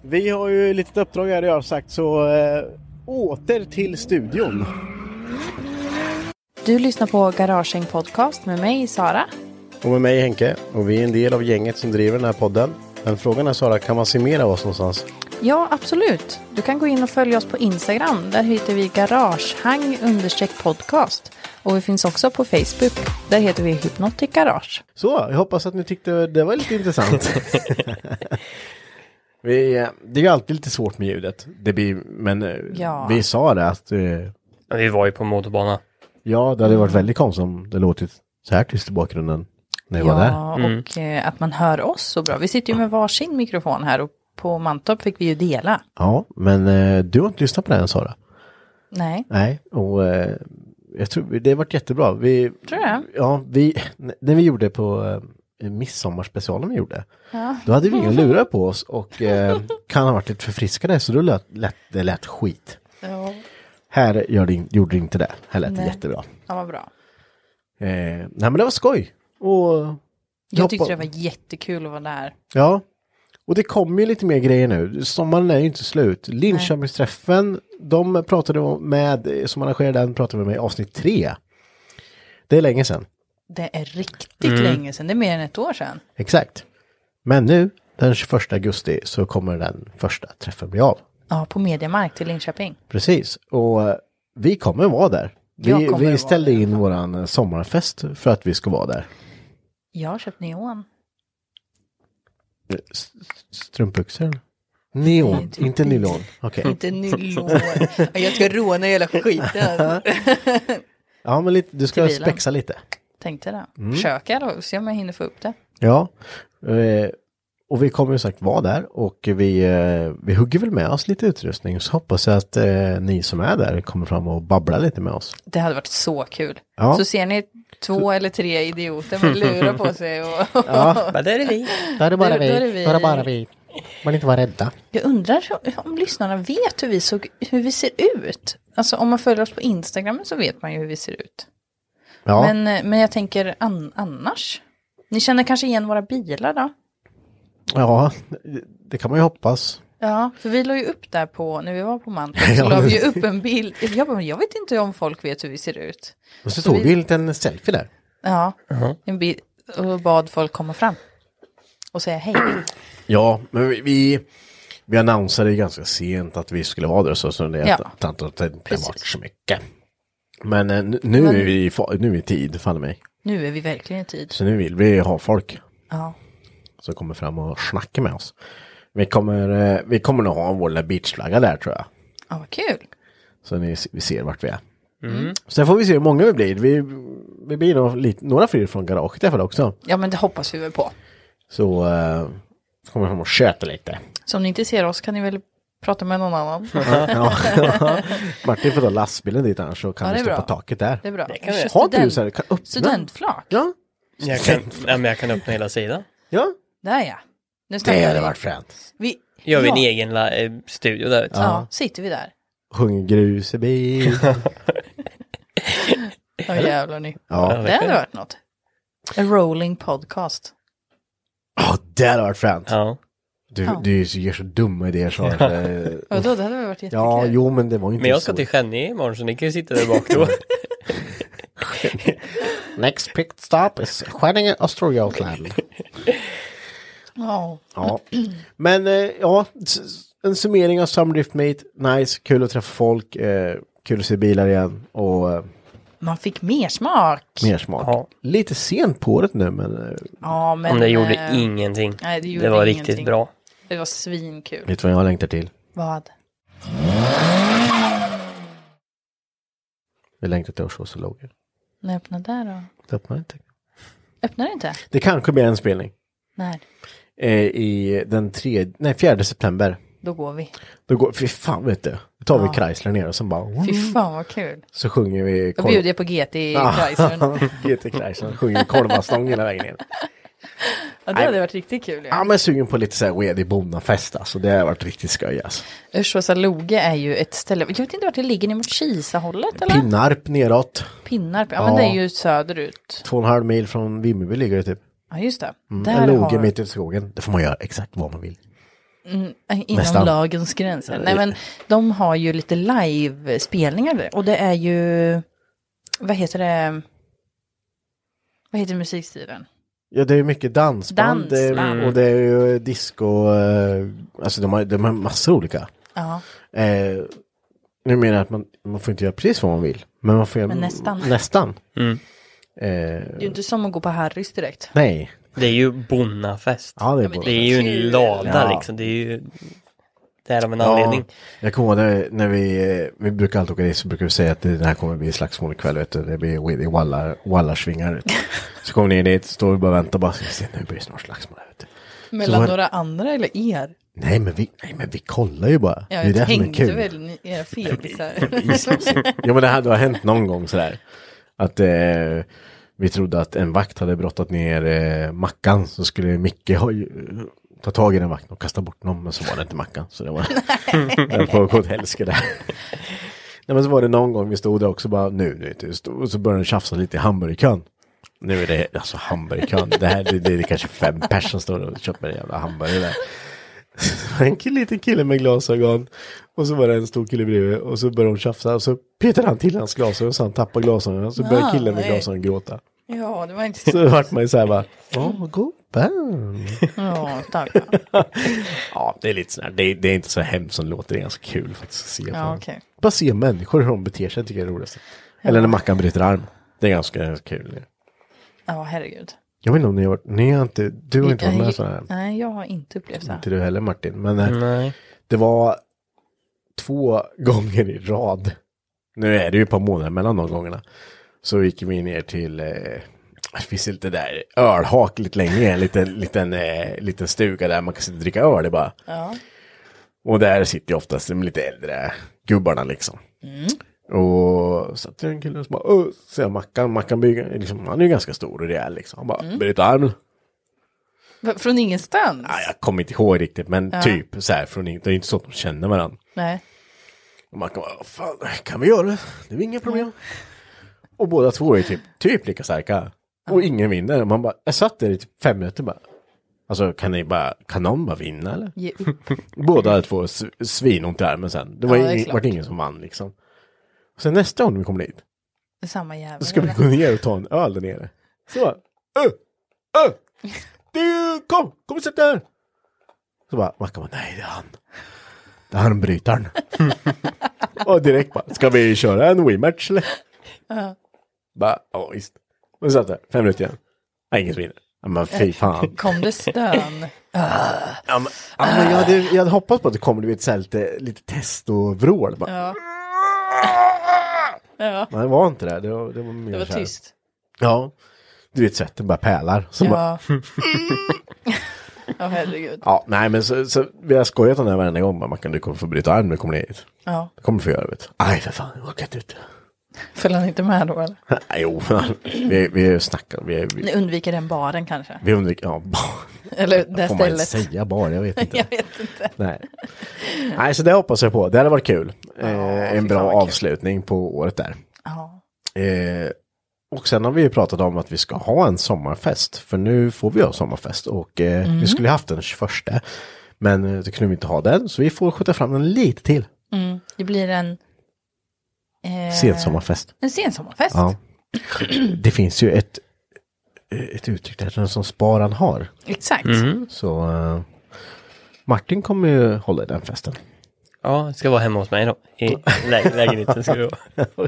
A: Vi har ju ett litet uppdrag här jag har sagt så eh, åter till studion.
B: Du lyssnar på Garagehäng Podcast med mig, Sara.
A: Och med mig Henke och vi är en del av gänget som driver den här podden. Men frågan är Sara, kan man summera oss någonstans?
B: Ja, absolut. Du kan gå in och följa oss på Instagram. Där hittar vi garagehang podcast. Och vi finns också på Facebook. Där heter vi Hypnotic Garage.
A: Så, jag hoppas att ni tyckte det var lite intressant. vi, eh, det är ju alltid lite svårt med ljudet. Det blir, men eh,
B: Ja.
A: vi sa det att... eh,
D: Vi var ju på motorbana.
A: Ja, det hade varit väldigt konstigt om det låtit så här tyst i bakgrunden när vi var
B: Ja,
A: där.
B: och eh, att man hör oss så bra. Vi sitter ju med varsin mikrofon här och på Mantorp fick vi ju dela.
A: Ja, men eh, du har inte lyssnat på det än Sara?
B: Nej,
A: Nej, och eh, jag tror det har varit jättebra. Vi,
B: tror jag.
A: ja, vi, när vi gjorde på eh, midsommarspecialen vi gjorde,
B: Ja.
A: då hade vi inga lurar på oss och eh, kan ha varit lite förfriskade så då lät, lät, det lät skit.
B: Ja,
A: Här gör det, in- gjorde det inte det, här lät det
B: Nej.
A: jättebra.
B: ja vad bra.
A: Eh, nej men det var skoj. Och
B: Jag tyckte det
A: hoppa-
B: var jättekul att vara där.
A: Ja, Och det kommer ju lite mer grejer nu. Sommaren är ju inte slut. Linköpingsträffen, de pratade med, som arrangerade den pratade med mig i avsnitt tre. Det är länge sedan.
B: Det är riktigt
A: Mm.
B: länge sedan, det är mer än ett år sedan.
A: Exakt. Men nu, den 21 augusti, så kommer den första träffen bli av.
B: Ja, på Mediamarkt till Linköping.
A: Precis, och eh, vi kommer vara där.
B: Jag
A: Vi,
B: kommer vara
A: vi ställde in våran eh, sommarfest för att vi ska vara där.
B: Jag har köpt neon.
A: Eh, s- s- Strumpbyxor? eller? Neon,
B: Nej, typ
A: inte
B: inte.
A: nylon. Okej.
B: Inte nylon. Jag ska råna hela skiten.
A: ja, men lite, du ska
B: Till bilen.
A: spexa lite.
B: Tänkte det.
A: Mm.
B: Försöka då, se om jag hinner få upp det.
A: Ja, eh, och vi kommer ju sagt vara där och vi, eh, vi hugger väl med oss lite utrustning så hoppas jag att eh, ni som är där kommer fram och babblar lite med oss.
B: Det hade varit så kul.
A: Ja.
B: Så ser ni två eller tre idioter med lura på sig och...
A: Ja. Men
B: där är vi.
A: Då är det bara vi,
B: Där
A: då är det bara vi. Man inte vara rädda.
B: Jag undrar om lyssnarna vet hur vi, såg, hur vi ser ut. Alltså om man följer oss på Instagram så vet man ju hur vi ser ut.
A: Ja.
B: Men, eh, men jag tänker an, annars. Ni känner kanske igen våra bilar då?
A: Ja, det kan man ju hoppas.
B: Ja, för vi la ju upp där på, när vi var på Mantorp, så la vi ju upp en bild. Jag bara, men jag vet inte om folk vet hur vi ser ut.
A: Och så
B: Så
A: tog
B: vi-
A: vi en liten selfie där.
B: Ja,
A: Jaha.
B: en bild och bad folk komma fram och säga hej.
A: Ja, men vi, vi, vi annonserade ju ganska sent att vi skulle vara där så, så det
B: Ja.
A: ja. att det inte
B: Precis.
A: varit så mycket. Men eh, nu- nu
B: Men-
A: är vi i fa- nu är vi i tid, faller mig.
B: Nu är vi verkligen i tid.
A: Så nu vill vi ha folk
B: Ja.
A: som kommer fram och snackar med oss. Vi kommer, eh, vi kommer nog ha vår lilla beachflagga där tror jag.
B: ja, vad kul.
A: Så ni, s- vi ser vart vi är.
B: Mm.
A: Sen får vi se hur många vi blir. Vi, vi blir nog lite, några fler från garaget i alla fall också.
B: Ja, men det hoppas vi väl på.
A: Så eh, kommer vi fram och köta lite.
B: Så om ni inte ser oss kan ni väl prata med någon annan.
A: ja. Martin får ta lastbilen dit annars så kan
B: Ja,
A: du
B: det är
A: stå
B: bra.
A: på taket där.
B: Det är bra. Det kan vi göra.
A: Har inte du
B: Student-
A: så här, kan öppna?
B: Studentflak.
A: Ja.
D: Jag kan, ja, men jag kan öppna hela sidan.
A: Ja.
B: Där ja. Nu
D: Det hade
B: vi.
D: varit
A: fränt.
B: Vi,
D: Gör vi
B: ja,
D: en egen la, eh, studio där ute.
B: ja. sitter vi där.
A: Sjunger grus i bil.
B: Ja jävlar ni.
A: Ja.
B: Det hade varit något. A rolling podcast.
A: det hade varit fränt. Du,
B: Ja.
A: du gör så dumma idéer så.
D: Ja.
A: eh,
B: Vadå, det hade väl varit jättekul.
A: Ja, jo men det var ju inte
D: Men jag ska
A: så.
D: till Skänninge imorgon så ni kan ju sitta där bak då.
A: Next pick stop is Skänninge Östergötland.
B: Ja.
A: Ja, men eh, ja, s- s- en summering av Sumdrift Mate. Nice, kul att träffa folk, eh, kul att se bilar igen och eh,
B: Man fick mer smak.
A: mer smak. Lite sent på året nu men eh,
B: Ja, men,
D: Men det gjorde
B: eh,
D: ingenting.
B: Nej, det, gjorde
D: Det var
B: ingenting.
D: riktigt bra. Mm.
B: Det var svinkul.
A: vet du vad jag längtar till?
B: Vad?
A: Vi längtar till Årsåsaloger.
B: När öppnade där då?
A: Det öppnar inte.
B: Öppnar det inte?
A: Det kanske blir en spelning.
B: När?
A: Eh, I den tredje, nej fjärde september.
B: Då går vi.
A: Då går, fy fan vet du. Då tar
B: Ja.
A: vi Chrysler ner och sen
D: Mm.
A: bara.
B: Fy fan vad kul.
A: Så sjunger vi.
B: Då
A: korv-
B: bjuder jag på GT i
D: Ah.
A: Ja,
B: Chrysler.
A: GT Chrysler. Sjunger korvastång hela vägen ner.
B: Ja, det hade varit riktigt kul.
A: Ja
D: Ah.
B: Ja.
A: men sugen på lite såhär wedig bonnafest alltså. Det har varit riktigt skoj alltså.
B: Örshåsa-Loge är ju ett ställe, jag vet inte vart det ligger, ni mot Kisa-hållet eller?
A: Pinnarp neråt.
B: Pinnarp, ja men det är ju söderut.
A: Två och en halv mil från Vimmerby ligger det typ.
B: Ja just det.
A: Mm.
B: Där
A: en loge
B: har-
A: mitt ute i skogen. Det får man göra exakt vad man vill.
B: Mm, inom
A: Nästan.
B: lagens gränser.
A: Ja,
B: Nej
A: det-
B: men de har ju lite live-spelningar där. och det är ju, vad heter det, vad heter musikstilen?
A: Ja det är ju mycket dansband.
B: Dans,
A: det är-
B: mm.
A: Och det är ju disco. eh, Alltså de har, de har massor olika.
B: Ja.
A: Eh, nu menar jag att man, man får inte göra precis vad man vill. Men man får göra
B: Men nästan.
A: nästan.
D: Mm.
B: Det
A: Eh,
B: är ju inte som att gå på Harrys direkt.
A: nej.
D: Det är ju bonnafest.
A: Ja, det är
D: Det är ju en lada
A: Ja.
D: liksom. Det är ju... Det är av en
A: Ja,
D: anledning.
A: jag kommer ihåg när- när vi, eh, vi brukar alltid åka dit så brukar vi säga att det det här kommer bli slagsmål ikväll vet du. Det blir wall- wallar, wallarsvingar. så kommer ni dit, står vi bara och väntar bara. "Ska vi se, Nu blir det snart slagsmål. här, Vet du. Så
B: Mellan
A: var-
B: några andra eller er?
A: Nej men, vi, nej men vi kollar ju bara. det
B: Ja,
A: är
B: jag
A: det som är
B: tänkte
A: kul.
B: väl ni, era febisar.
A: ja men det hade hänt någon gång sådär. Att eh, vi trodde att en vakt hade brottat ner eh, Mackan så skulle Micke ha, ta tag i den vakten och kasta bort honom men så var det inte Mackan. Så det var den pågick åt helsike där. Nej men så var det någon gång vi stod där också bara nu, nu nu, stod- och så började den tjafsa lite i hamburgerkön. Nu är det alltså hamburgerkön, det här det, det är kanske fem personer som står och köper en jävla hamburgare där. en kill- liten kille med glasögon och så var det en stor kille bredvid och så började de tjafsa och så petade han till hans glasögon så han tappade glasögonen så började killen med
B: Nej.
A: glasögon gråta.
B: Ja, det var inte
A: Så vart man ju så här bara, åh vad gubben.
B: Ja, tack.
A: Ja, det är lite sådär, det, det är inte så hemskt som det låter, det är ganska kul faktiskt att se. på
B: Ja,
A: dem.
B: okej.
A: Bara se människor hur de beter sig tycker jag är roligast.
B: Ja.
A: Eller när Mackan bryter arm. Det är ganska, ganska kul.
B: Ja, herregud.
A: Jag vet inte om ni har varit, ni har inte, du har inte varit med sådana här.
B: Nej, jag har inte upplevt det.
A: Inte du heller Martin, men eh, det var två gånger i rad. Nu är det ju ett par månader mellan de gångerna. Så gick vi ner till, eh, det finns ju lite där ölhak lite längre, ner, en liten, liten, eh, liten stuga där man kan sitta och dricka öl. Det är bara.
B: Ja.
A: Och där sitter ju oftast de lite äldre gubbarna liksom.
B: Mm.
A: Och satt det en kille och så bara, "Åh", så jag Mackan, Mackan bygger, liksom, han är ju ganska stor och rejäl liksom. Han bara,
B: Mm.
A: bryt armen.
B: V- Från ingenstans?
A: Jag kommer inte ihåg riktigt, men
B: Ja.
A: typ så här, från, det är ju inte så att de känner varandra.
B: Nej.
A: Och man kan bara, fan, kan vi göra det? Det är inga problem. Och båda två är typ, typ lika starka. Och ingen vinner. Man bara, jag satt där i typ fem minuter bara. Alltså kan ni bara, kan någon bara vinna eller?
B: Ge upp.
A: Båda två s- svinont i armen sen. Det var
B: Ja, det är
A: ingen,
B: klart.
A: vart ingen som vann liksom. Och sen nästa gång vi kommer dit,
B: Det är Samma jävel.
A: så ska vi gå ner och ta en öl där nere. Så bara, öh, öh, du, kom, kom och sätt dig här. Så bara, Mackan bara, nej det är han. Det är han brytaren. och direkt bara, ska vi köra en rematch eller?
B: Ja.
A: Bara, ja visst. Och så satt där, fem minuter igen. Nej, ingen som vinner. Ja, Men fy fan.
B: Kom det stön? Ah.
A: Ja, men, ja, men jag, hade, jag hade hoppats på att det kommer du vet, så här lite, lite test och vrål. Bara.
B: Ja. ja.
A: Men det var inte det. Det var, det var, mer
B: Det var
A: så här-
B: tyst.
A: Ja. Du vet svetten bara pärlar. Så
B: Ja.
A: bara,
B: Ja, herregud.
A: ja, nej men så, så vi har skojat om det här varenda gång. Man kan, du kommer få bryta arm när du kommer ner hit.
B: Ja.
A: Du kommer få göra det. vet du. Aj för fan, jag har åkt ut.
B: Föll han inte med då eller?
A: Nej, jo, vi, vi snackar. Vi,
B: Ni
A: vi,
B: undviker den baren kanske?
A: vi undviker, ja, bar.
B: Eller det
A: Får man inte
B: stället?
A: säga bar? Jag vet inte.
B: Jag vet inte.
A: Nej. Nej, så det hoppas jag på. Det hade varit kul. eh, en bra avslutning på året där.
B: Ja.
A: Eh, och sen har vi ju pratat om att vi ska ha en sommarfest. För nu får vi ha sommarfest och eh,
B: Mm.
A: vi skulle ju haft den 21. Men eh, då kunde vi inte ha den, så vi får skjuta fram den lite till.
B: Mm. Det blir en... Eh,
A: Sensommarfest.
B: En sensommarfest?
A: Ja. Det finns ju ett, eh, ett uttryck där, den som sparan har.
B: Exakt.
D: Mm.
A: Så eh, Martin kommer ju hålla i den festen.
D: Ja, det ska vara hemma hos mig då. I lä- lägenheten ska det vara.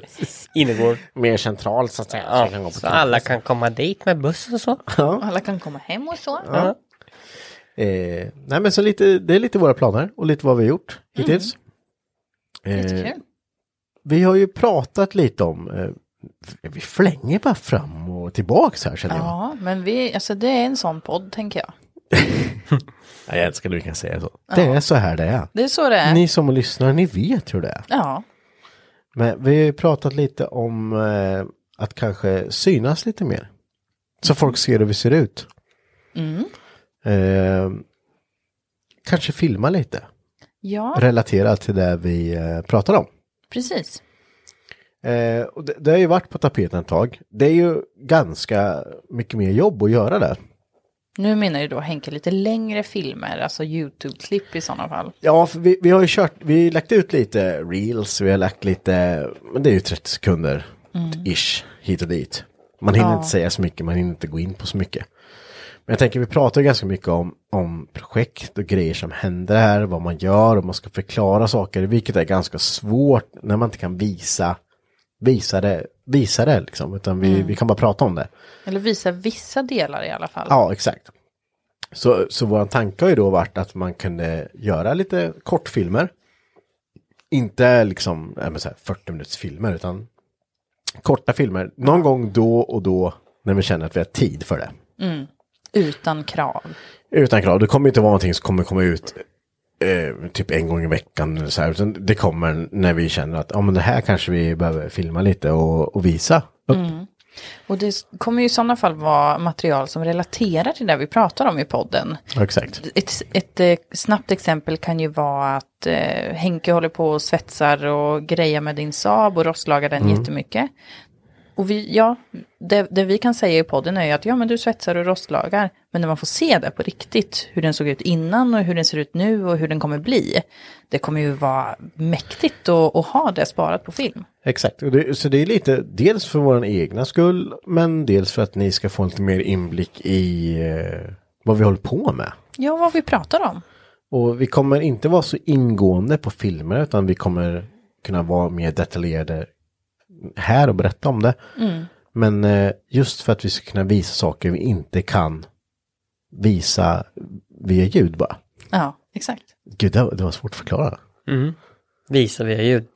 D: Innergård.
A: Mer centralt så att säga.
D: Ja,
A: Så kan gå på
D: så
A: campus.
D: alla kan komma dit med buss och så.
A: Ja.
B: Alla kan komma hem och så.
A: Ja. Eh, nej men så lite, det är lite våra planer och lite vad vi har gjort hittills.
D: Mm.
A: Eh,
B: Jättekul.
A: vi har ju pratat lite om, eh, vi flänger bara fram och tillbaks här känner jag.
B: Ja, men vi, alltså det är en sån podd tänker jag.
A: Ja, jag älskar när vi kan säga så. Det är så här det är.
B: Det är så det är.
A: Ni som lyssnar, ni vet hur det är.
B: Ja,
A: Men vi har ju pratat lite om eh, att kanske synas lite mer. Så folk ser hur vi ser ut.
B: Mm.
A: Eh, kanske filma lite.
B: ja
A: Relaterat till det vi eh, pratar om.
B: precis.
A: Eh, och det, det har ju varit på tapeten ett tag. Det är ju ganska mycket mer jobb att göra det.
B: Nu menar ju då Henke lite längre filmer, alltså YouTube-klipp i sådana fall.
A: Ja, för vi, vi har ju kört, vi har lagt ut lite reels, vi har lagt lite, men det är ju 30 sekunder
B: Mm.
A: ish hit och dit. Man hinner
B: Ja.
A: inte säga så mycket, man hinner inte gå in på så mycket. Men jag tänker vi pratar ju ganska mycket om, om projekt och grejer som händer här, vad man gör och man ska förklara saker, vilket är ganska svårt när man inte kan visa, visa det, visa det liksom, utan vi,
B: Mm.
A: vi kan bara prata om det.
B: Eller visa vissa delar i alla fall.
A: Ja, exakt. Så, så vår tanke har ju då varit att man kunde göra lite kortfilmer. Inte liksom ja, men så här 40 minuters filmer utan korta filmer. Någon gång då och då när vi känner att vi har tid för det.
B: Mm. Utan krav.
A: Utan krav, det kommer inte vara någonting som kommer komma ut eh, typ en gång i veckan. eller Så här, utan det kommer när vi känner att ja, men det här kanske vi behöver filma lite och, och visa.
B: Mm. Och det s- kommer ju i sådana fall vara material som relaterar till det vi pratar om i podden.
A: Exakt.
B: Ett, ett eh, snabbt exempel kan ju vara att eh, Henke håller på och svetsar och grejer med din Saab och rostlagar den
A: Mm.
B: jättemycket. Och vi, ja, det, det vi kan säga i podden är ju att ja, men du svetsar och rostlagar. Men när man får se det på riktigt, hur den såg ut innan och hur den ser ut nu och hur den kommer bli. Det kommer ju vara mäktigt att, att ha det sparat på film.
A: Exakt. Och det, så det är lite dels för vår egna skull men dels för att ni ska få lite mer inblick i eh, vad vi håller på med.
B: Ja, vad vi pratar om.
A: Och vi kommer inte vara så ingående på filmer utan vi kommer kunna vara mer detaljerade här och berätta om det.
C: Mm.
A: Men eh, just för att vi ska kunna visa saker vi inte kan visa via ljud bara.
B: Ja, exakt.
A: Gud, det var, det var svårt att förklara.
D: Mm. Visa via ljud.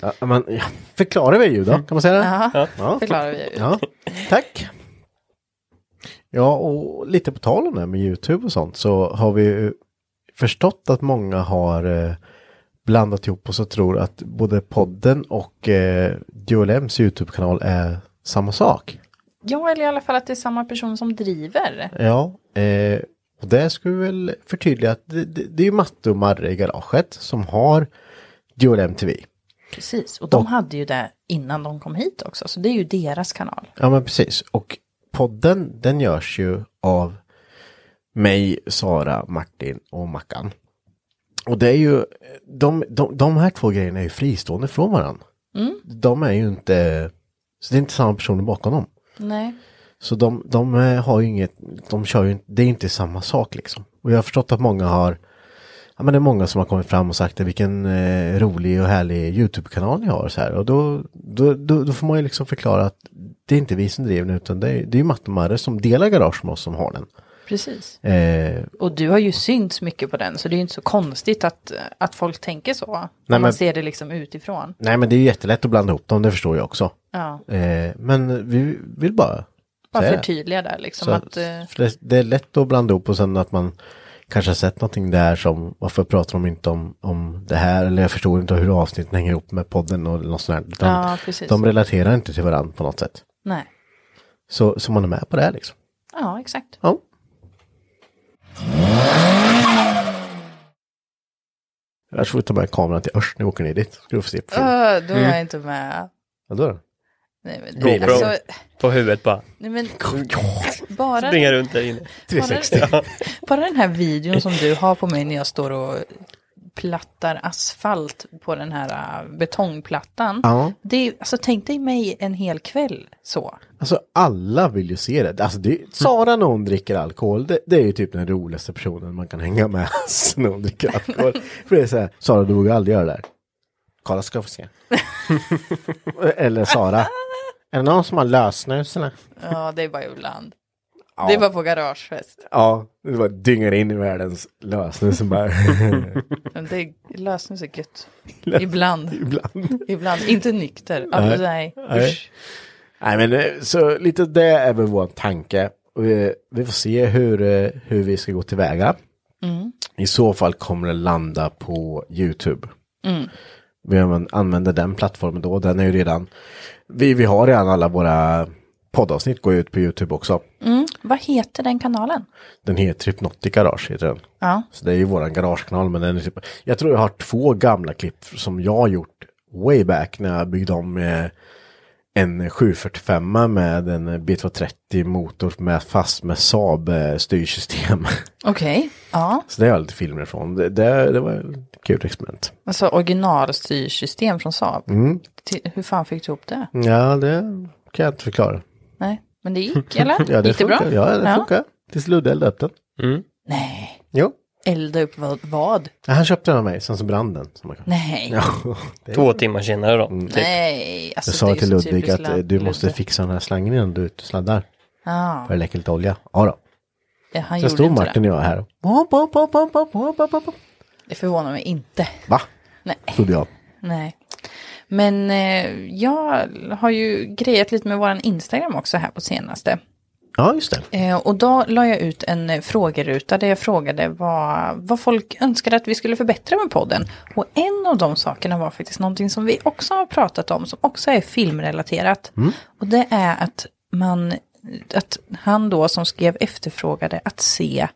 A: Ja, men, ja, förklara via ljud då, kan man säga det?
B: Jaha, förklara via ljud.
A: Ja, tack. Ja, och lite på tal om det här med YouTube och sånt så har vi ju förstått att många har eh, blandat ihop oss och tror att både podden och eh, DLMs YouTube-kanal är samma sak.
B: Ja, eller i alla fall att det är samma person som driver.
A: Ja, eh, och där ska vi väl förtydliga att det, det, det är ju Matte och Marre i garaget som har DLM TV.
B: Precis, och de hade ju det innan de kom hit också, så det är ju deras kanal.
A: Ja men precis. Och podden den görs ju av mig, Sara, Martin och Mackan. Och det är ju, de, de, de här två grejerna är ju fristående från varandra.
B: Mm.
A: De är ju inte, så det är inte samma personer bakom dem.
B: Nej.
A: Så de, de eh, har ju inget, de kör ju inte, det är inte samma sak liksom. Och jag har förstått att många har, ja men det är många som har kommit fram och sagt det, vilken eh, rolig och härlig YouTube-kanal ni har så här. Och då, då, då, då får man ju liksom förklara att det är inte vi som driver den utan det är, det är ju Matte och Marre som delar garage med oss som har den.
B: Precis.
A: Eh,
B: Och du har ju synts mycket på den, så det är ju inte så konstigt att, att folk tänker så. Nej,
A: men-
B: man ser det liksom utifrån.
A: nej men det är ju jättelätt att blanda ihop dem, det förstår jag också.
B: Ja.
A: Eh, men vi vill bara
B: Bara
A: säga det.
B: förtydliga där liksom
A: Så-
B: att... eh,
A: För det, det är lätt att blanda ihop och sen att man kanske har sett någonting där som varför pratar de inte om, om det här eller jag förstår inte hur avsnitten hänger ihop med podden och något sånt där. Utan
B: Ja, precis.
A: de relaterar inte till varandra på något sätt.
B: Nej.
A: Så, så man är med på det här liksom.
B: Ja, exakt.
A: Ja. Annars får vi ta med kameran till Örs när vi åker ner dit. Ska du få se på film.
B: Ö, då är
A: Mm.
B: jag inte med.
A: Ja, då är det.
B: Nej, men,
D: GoPro
B: alltså,
D: på huvudet bara.
B: nej, men, bara,
D: Springa runt där inne.
B: Bara, bara den här videon som du har på mig när jag står och plattar asfalt på den här äh, betongplattan.
A: Ja.
B: Det är, alltså, tänk dig mig en hel kväll så.
A: Alltså alla vill ju se det. Alltså det, Sara när hon dricker alkohol, det, det är ju typ den roligaste personen man kan hänga med alltså, när hon dricker alkohol. För det är så här, Sara du vågar aldrig göra det här. Kolla ska få se. eller Sara, är det någon som har lösnus eller?
B: Ja, det är bara ibland.
A: Ja.
B: Det är bara på garagefest.
A: Ja, det bara dyngar in i världens lösnus som bara...
B: Men Det är, lösning så gött. Ibland.
A: Ibland.
B: Ibland. Inte nykter. Alltså, nej.
A: Nej.
B: Usch.
A: Nej, men eh, så lite det är väl vår tanke. Och vi, vi får se hur, eh, hur vi ska gå tillväga.
C: Mm.
A: I så fall kommer det landa på YouTube.
C: Mm.
A: Vi anv- använder den plattformen då. Den är ju redan, vi, vi har redan alla våra poddavsnitt går ju ut på YouTube också.
B: Mm. Vad heter den kanalen?
A: Den heter Hypnotic Garage heter den.
B: Ja.
A: Så det är ju våran garagekanal. Men den är typ, jag tror jag har två gamla klipp som jag har gjort way back när jag byggde om eh, en 745 med en eh, B230 motor med fast med Saab eh, styrsystem.
B: Okej. Ja.
A: Så det har jag lite filmer från. Det, det, det var ett kul experiment.
B: Alltså originalstyrsystem från Saab.
A: Mm.
B: Till, hur fan fick du ihop det?
A: Ja, det kan jag inte förklara.
B: Nej, men det gick eller?
A: ja, det
B: gick det bra?
A: funkar. Ja, det funkar. Tills Ludde eldade upp den.
B: Nej,
A: Jo.
B: elda upp vad? vad?
A: Ja, Han köpte den av mig, sen så brann den. som man kan-
B: Nej.
A: Ja, det-
D: Två timmar senare då.
A: Mm.
B: Nej, alltså
A: jag sa
B: det är
A: till
B: så
A: Ludvig
B: typiskt
A: att eh,
B: Lud-
A: du måste
B: Ludde.
A: fixa den här slangen innan du är ute och sladdar.
B: Ja.
A: För det läcker lite olja. Ja då.
B: Ja, han
A: så
B: gjorde
A: stod
B: inte
A: Martin
B: det.
A: och jag här.
B: Hopp, hopp, hopp, hopp, hopp, hopp, hopp, hopp, hopp. Det förvånar mig inte.
A: Va?
B: Nej.
A: Trodde jag.
B: Nej. Men eh, jag har ju grejat lite med våran Instagram också här på senaste.
A: Ja, just det.
B: Eh, och då la jag ut en eh, frågeruta där jag frågade vad, vad folk önskade att vi skulle förbättra med podden. Och en av de sakerna var faktiskt någonting som vi också har pratat om, som också är filmrelaterat.
C: Mm.
B: Och det är att, man, att han då som skrev efterfrågade att se,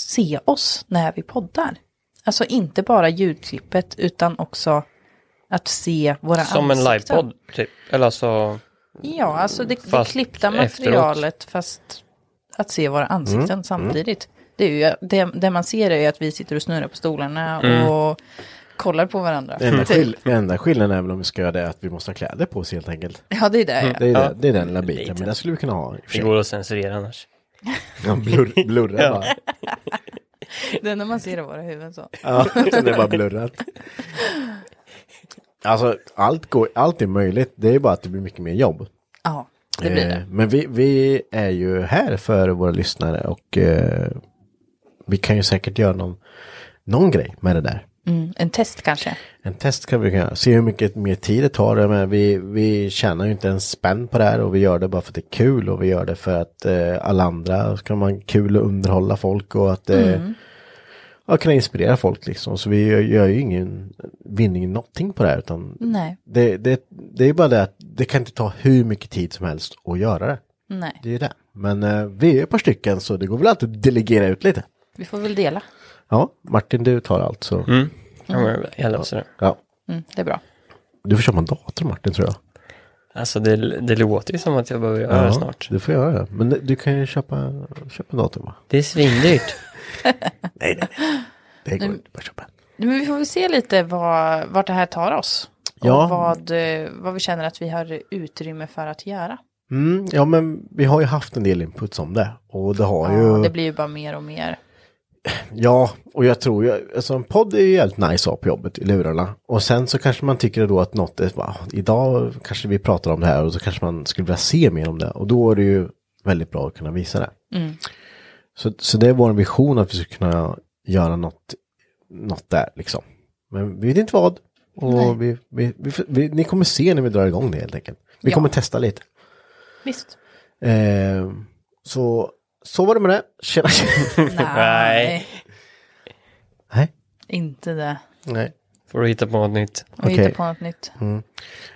B: se oss när vi poddar. Alltså inte bara ljudklippet utan också att se våra
D: Som en
B: ansikten.
D: livepodd typ. Eller alltså
B: Ja, alltså det, det
D: Fast efteråt.
B: klippta materialet fast att se våra ansikten
D: Mm,
B: samtidigt. Det, är ju, det, det man ser är ju att vi sitter och snurrar på stolarna
A: Mm.
B: och kollar på varandra.
A: Den enda,
B: Typ.
A: skill- den enda skillnaden är väl om vi ska göra det att vi måste ha kläder på oss helt enkelt.
B: Ja, det är det, typ. ja.
A: Det är,
B: Ja.
A: det, det är den lilla biten, men den skulle vi kunna ha. i och för
D: Det
A: sig.
D: går att censurera annars.
A: Ja, blur, blurra
D: Ja.
A: bara.
B: Det är när man ser i våra huvuden så.
A: Ja, det är bara blurrat. Alltså, allt, går, allt är möjligt, det är bara att det blir mycket mer jobb.
B: Ja, det blir
A: Eh, Men vi, vi är ju här för våra lyssnare och eh, vi kan ju säkert göra någon, någon grej med det där.
B: Mm, en test kanske.
A: En test kan vi kunna se hur mycket mer tid det tar. Jag menar, vi, vi tjänar ju inte en spänn på det här och vi gör det bara för att det är kul och vi gör det för att eh, alla andra ska man kul och underhålla folk och att eh,
M: Mm.
A: ja, kunna inspirera folk liksom. Så vi gör, gör ju ingen vinning någonting på det här utan
B: Nej.
A: det, det, det är bara det att det kan inte ta hur mycket tid som helst att göra det.
B: Nej,
A: Det är ju det. Men eh, vi är ett par stycken så det går väl alltid att delegera ut lite.
B: vi får väl dela.
A: Ja, Martin du tar allt så. Mm.
D: Ja, men jag löser det.
A: Ja.
B: Mm, det är bra.
A: Du får köpa en dator Martin tror jag.
D: Alltså det, det låter ju som att jag behöver göra det snart.
A: Du får göra det. Men du kan ju köpa, köpa en dator va?
D: Det är svindyrt.
A: nej, nej, nej. Det går
B: Nu-
A: inte.
B: Men vi får väl se lite vad, vart det här tar oss.
A: Ja.
B: Och vad, eh, vad vi känner att vi har utrymme för att göra.
A: Mm, ja men vi har ju haft en del input om det. Och det har
B: Ja,
A: ju...
B: det blir ju bara mer och mer.
A: Ja, och jag tror ju, alltså en podd är ju helt nice att ha på jobbet i lurarna. Och sen så kanske man tycker då att något är, va, idag kanske vi pratar om det här och så kanske man skulle vilja se mer om det. Och då är det ju väldigt bra att kunna visa det.
B: Mm.
A: Så, så det är vår vision att vi ska kunna göra något, något där liksom. Men vi vet inte vad. Och vi, vi, vi, vi, ni kommer se när vi drar igång det helt enkelt. Vi
B: Ja.
A: kommer testa lite.
B: Visst.
A: Eh, så, så var det med det. Tjena.
D: Nej.
B: Inte det.
A: Nej.
D: Får du hitta på något nytt.
B: Och hitta på något nytt.
A: Mm.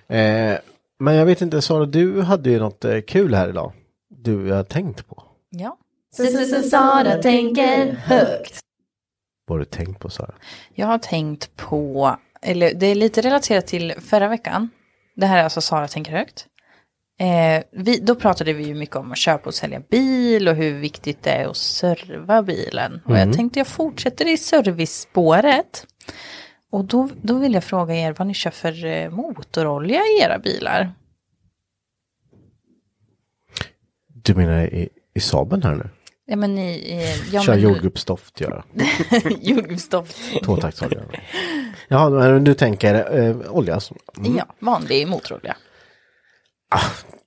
A: Eh, men jag vet inte, Sara, du hade ju något eh, kul här idag. Du har tänkt på.
B: Ja.
N: Sara tänker högt.
A: Vad har du tänkt på, Sara?
B: Jag har tänkt på, eller det är lite relaterat till förra veckan. Det här är alltså Sara tänker högt. Eh, vi, då pratade vi ju mycket om att köpa och sälja bil och hur viktigt det är att serva bilen. Och
N: Mm.
B: jag tänkte jag fortsätter i servicespåret. Och då, då vill jag fråga er vad ni kör för eh, motorolja i era bilar.
A: Du menar i, i Saben här nu?
B: Ja men i... i ja,
A: Kör
B: men-
A: jordgubbsdoft, gör jag.
B: Jordgubbsdoft.
A: Tvåtaktsolja. Ja, men du tänker eh, olja alltså? Mm.
B: Ja, vanlig motorolja.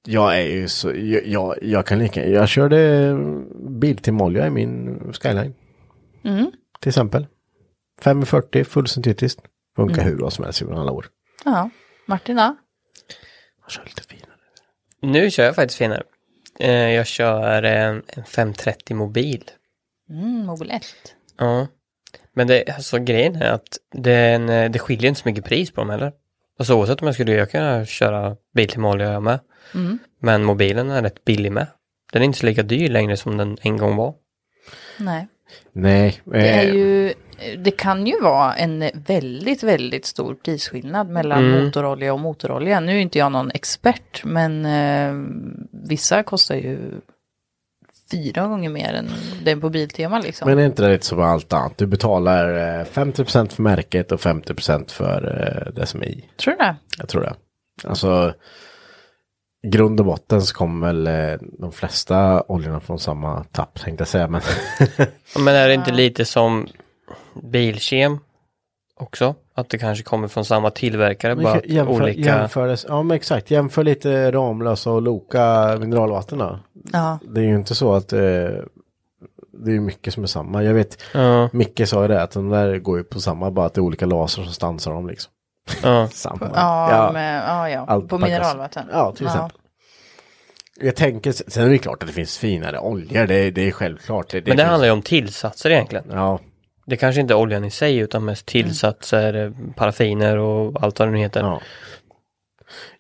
A: Jag är ju så, jag, jag, jag kan lika, jag körde Bilteam-olja i min Skyline.
B: Mm.
A: Till exempel. 540, fullsyntetiskt. Funkar
B: Mm.
A: hur bra som helst i alla år.
B: Ja, Martina.
D: Nu kör jag faktiskt finare. Eh, Jag kör eh, en 530 mobil.
B: Mm, Mobil 1.
D: Ja. Men det, alltså, grejen är att den, eh, det skiljer inte så mycket pris på dem heller. Alltså oavsett om jag skulle jag kan köra bil till Malå jag med.
B: Mm.
D: Men mobilen är rätt billig med. Den är inte så lika dyr längre som den en gång var.
B: Nej.
A: Nej. eh,
B: Det, är ju, det kan ju vara en väldigt, väldigt stor prisskillnad mellan
D: Mm.
B: motorolja och motorolja. Nu är inte jag någon expert, men eh, vissa kostar ju fyra gånger mer än den på Biltema liksom.
A: Men eh, är inte det lite som med allt annat? Du betalar eh, 50% för märket och 50% för eh, det som är i.
B: Tror du det?
A: Jag tror det. Alltså, grund och botten så kommer väl eh, de flesta oljorna från samma tapp tänkte jag säga. Men
D: Ja, Men är det
A: Eh.
D: inte lite som Bilkem också? Att det kanske kommer från samma tillverkare, bara att
A: jämför,
D: olika...
A: jämfördes, ja men exakt, jämför lite Ramlösa och Loka mineralvatten då.
B: Ja.
A: Det är ju inte så att eh, det är ju mycket som är samma. Jag vet,
D: Ja.
A: Micke sa ju det, att de där går ju på samma, bara att det är olika laser som stansar dem liksom.
D: Ja.
A: samma.
B: Ja, med- ja, ja.
A: Allt
B: På
A: packas.
B: mineralvatten.
A: Ja, till
B: Ja.
A: exempel. Jag tänker, sen är det klart att det finns finare oljor, det, är- det är självklart. Det,
D: Men det
A: finns-
D: handlar ju om tillsatser egentligen.
A: Ja.
D: Det kanske inte är oljan i sig utan mest
A: Mm.
D: tillsatser, paraffiner och allt vad det nu heter.
A: Ja.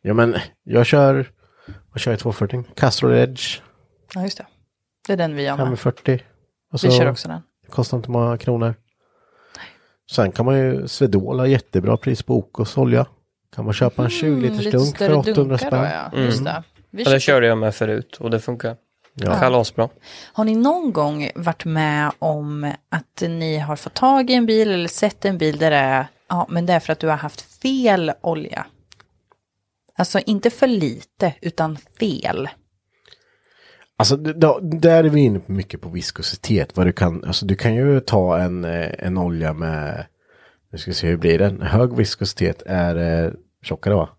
A: Ja men jag kör, vad kör jag 240? Castrol Edge,
B: Ja, just det. Det är den vi gör med.
A: 540.
B: Vi kör också den.
A: det Kostar inte många kronor. Sen kan man ju, Swedol har jättebra pris på Okos olja. Kan man köpa en 20 liters
B: Mm, lite
A: dunk för
B: större dunkar
A: 800
B: då,
A: spänn.
B: ja. Just det. Vi
D: Ja,
B: köpte-
D: det körde jag med förut och det funkar.
B: Ja.
D: Kalasbra.
B: Har ni någon gång varit med om att ni har fått tag i en bil eller sett en bil där det är, ja men det är för att du har haft fel olja? Alltså inte för lite utan fel.
A: Alltså, d- då, där är vi inne på mycket på viskositet. Vad du, kan, alltså, du kan ju ta en, eh, en olja med, nu ska vi se hur blir den, hög viskositet är eh, tjockare va?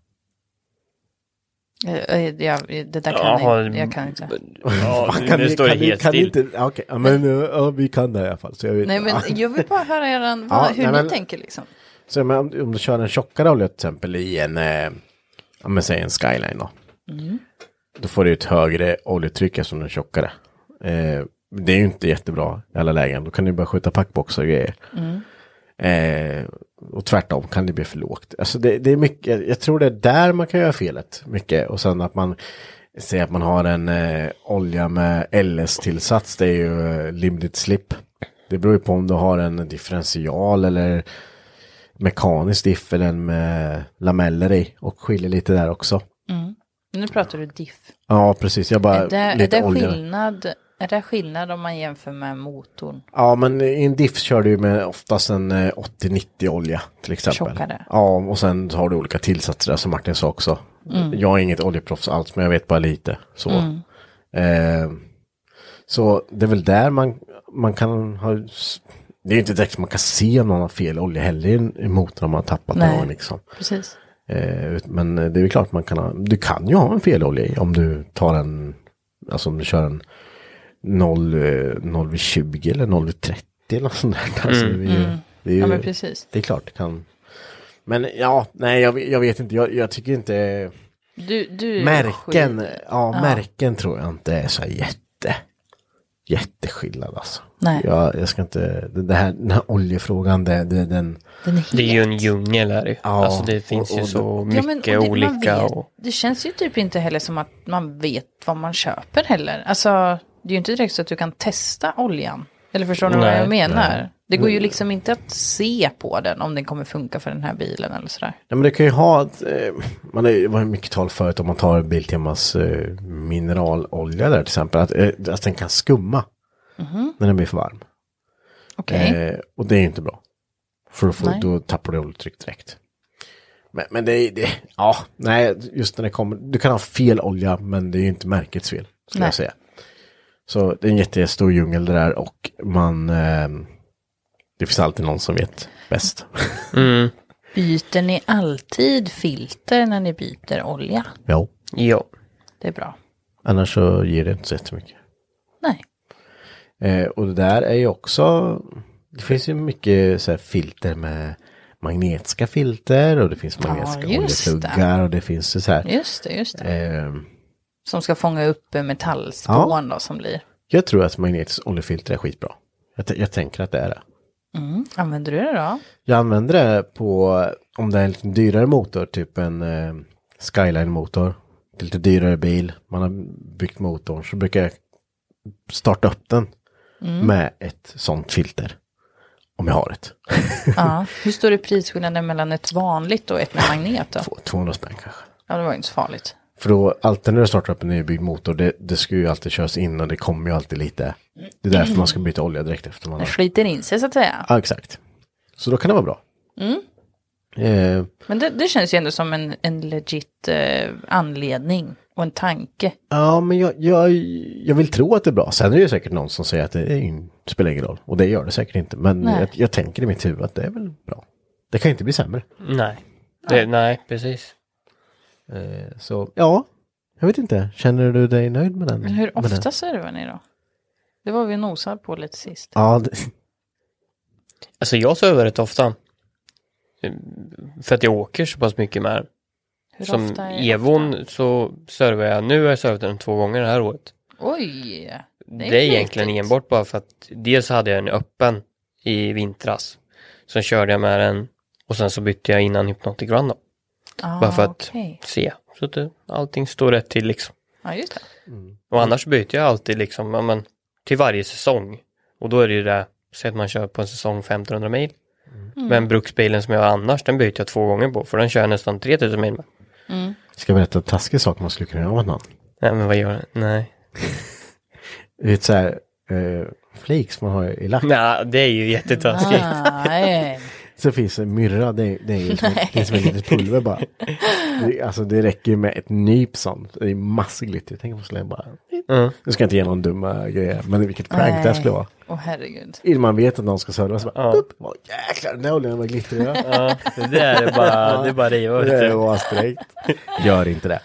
B: Eh, eh, Jag, det där kan
A: Jaha,
B: jag, jag kan inte.
A: Fan, kan ni- kan ni- kan ni inte- ja, Okej, ja, men eh, ja, vi kan det i alla fall. Så jag vet,
B: Nej men jag vill bara höra er,
A: Ja,
B: vad, hur
A: nej,
B: ni
A: men-
B: tänker liksom.
A: Så, men, om, om du kör en tjockare olja till exempel i en, eh, ja, men, säg en skyline då.
B: Mm.
A: Då får du ett högre oljetryck eftersom den är tjockare. Eh, det är ju inte jättebra i alla lägen. Då kan du bara skjuta packboxar och grejer.
C: Mm.
A: Eh, och tvärtom kan det bli för lågt. Alltså det, det är mycket, jag tror det är där man kan göra felet. Mycket. Och sen att man säger att man har en eh, olja med LS-tillsats. Det är ju eh, limited slip. Det beror ju på om du har en differential eller mekanisk diff eller en med lameller i. Och skiljer lite där också.
B: Mm. Nu pratar du diff.
A: Ja, precis. Jag bara
B: Är det, är,
A: lite
B: det
A: olja.
B: skillnad, är det skillnad om man jämför med motorn?
A: Ja, men i en diff kör du ju med oftast en eh, 80-90 olja till exempel.
B: Tjockare.
A: Ja, och sen har du olika tillsatser där som Martin sa också.
B: Mm.
A: Jag är inget oljeproffs alls, men jag vet bara lite. Så,
B: Mm.
A: eh, så det är väl där man, man kan ha... Det är ju inte direkt man kan se om någon har fel olja heller i- i motorn om man har tappat
B: Nej,
A: någon. Liksom.
B: precis.
A: Eh, ut- men det är ju klart man kan ha, du kan ju ha en felolja i om du tar en, alltså om du kör en 0, eh, 0 vid 20 eller 0 vid 30 eller något sånt där. Alltså,
B: Mm.
A: det, är ju,
B: Mm.
A: det är ju,
B: Ja, men precis.
A: Det är klart det kan. Men ja, nej jag, vet- jag vet inte, jag, jag tycker inte
B: Du, du är
A: märken,
B: skit.
A: ja, märken tror jag inte är så här jätte, jätteskillnad alltså.
B: Nej.
A: Jag, jag ska inte, det, det här, den här oljefrågan, det, det, den,
B: den
D: Det är ju en djungel är det ju.
A: Ja,
D: Alltså det finns
A: och-
D: ju
A: och-
D: så
B: Ja,
D: mycket
B: men- och det- man
D: olika.
B: vet-
D: Och...
B: Det känns ju typ inte heller som att man vet vad man köper heller. Alltså, det är ju inte direkt så att du kan testa oljan. Eller förstår ni vad
A: Nej.
B: jag menar?
A: Nej.
B: Det
D: Mm.
B: går ju liksom inte att se på den om den kommer funka för den här bilen eller sådär.
A: Ja, men det kan ju ha, ett, eh, man har ju- var ju mycket tal förut om man tar Biltemas eh, mineralolja där till exempel, att, eh, att den kan skumma
B: Mhm.
A: när den blir för varm.
B: Okej.
A: Eh, och det är ju inte bra. För då, får,
B: Nej.
A: då tappar du oljetryck direkt. Men, men det är, det, ja, nej, just när det kommer, du kan ha fel olja men det är ju inte märkets fel, skulle
B: Nej.
A: jag säga. Så det är en jättestor djungel det där och man, eh, det finns alltid någon som vet bäst.
B: Byter ni alltid filter när ni byter olja?
A: ja.
D: ja.
B: Det är bra.
A: Annars så ger det inte så jättemycket.
B: Nej.
A: Eh, och det där är ju också, det finns ju mycket så här filter med magnetiska filter och det finns magnetiska
B: just det.
A: oljesluggar och det finns ju så här.
B: Just det, just det.
A: Eh,
B: Som ska fånga upp eh, metallspån då som blir.
A: jag tror att magnetiskt oljefilter är skitbra. Jag, t- jag tänker att det är det.
B: Mm. Använder du det då?
A: Jag använder det på, om det är en lite dyrare motor, typ en eh, Skyline-motor, lite dyrare bil, man har byggt motorn, så brukar jag starta upp den
B: Mm.
A: med ett sånt filter. Om jag har ett.
B: Ja. Hur stor är prisskillnaden mellan ett vanligt och ett med magnet då?
A: 200 spänn kanske.
B: Ja, det var ju inte så farligt.
A: För då, alltid när du startar upp en nybyggd motor, det, det ska ju alltid köras in och det kommer ju alltid lite. Det är därför man ska byta olja direkt efter man
B: Den
A: har.
B: sliter in sig så att säga.
A: Ja, exakt. Så då kan det vara bra.
B: Mm.
A: Eh,
B: Men det, det känns ju ändå som en, en legit eh, anledning och en tanke.
A: Ja, men jag, jag, jag vill tro att det är bra. Sen är det ju säkert någon som säger att det är in- spelar ingen roll. Och det gör det säkert inte. Men
B: Nej.
A: jag, jag tänker i mitt huvud att det är väl bra. Det kan ju inte bli sämre.
D: Nej. Det, nej, precis.
A: Eh, så ja, jag vet inte. Känner du dig nöjd med den?
B: Men hur
A: med den?
B: ofta servar ni då? Det var vi nosade på lite sist.
A: Ja, det,
D: Alltså jag söver rätt ofta. Eh, För att jag åker så pass mycket med den.
B: Hur
D: Som
B: ofta är
D: Evon så servar jag, nu har jag servat den två gånger det här året.
B: Oj!
D: Det är,
B: flitigt.
D: egentligen enbart bara för att dels hade jag den öppen i vintras. Sen körde jag med den och sen så bytte jag innan Hypnotic Run då.
B: Ah,
D: bara för att
B: okej.
D: se. Så att det, allting står rätt till liksom.
B: Ja, just det.
D: Och annars byter jag alltid liksom, ja, men, till varje säsong. Och då är det ju det, säg att man kör på en säsong 1500 mil.
B: Mm.
D: Men bruksbilen som jag har annars, den byter jag två gånger på, för den kör jag nästan 3000 mil med.
A: ska jag berätta en taskig sak man skulle kunna göra med någon?
D: Nej, men vad gör den? Nej.
A: Du vet så här, eh, flakes man har i lack.
D: Nej, det är ju jättetaskigt.
B: Nej.
A: Så finns det myrra, det, är- det är ju som,
B: Nej.
A: det är som ett litet pulver bara. Det, alltså det räcker ju med ett nyp sånt. Det är massor glitter. Tänk om jag skulle bara...
D: Mm.
A: Nu ska jag inte ge någon dumma grejer, men vilket prank det här skulle vara.
B: Åh herregud.
A: Innan man vet att någon ska sörja så bara... "Upp, vad jäklar, den där oljan var glittrig. va?"
B: Ja,
D: det där är bara- det är bara att riva, vet
A: Det där
D: du.
A: var strängt. Gör inte det.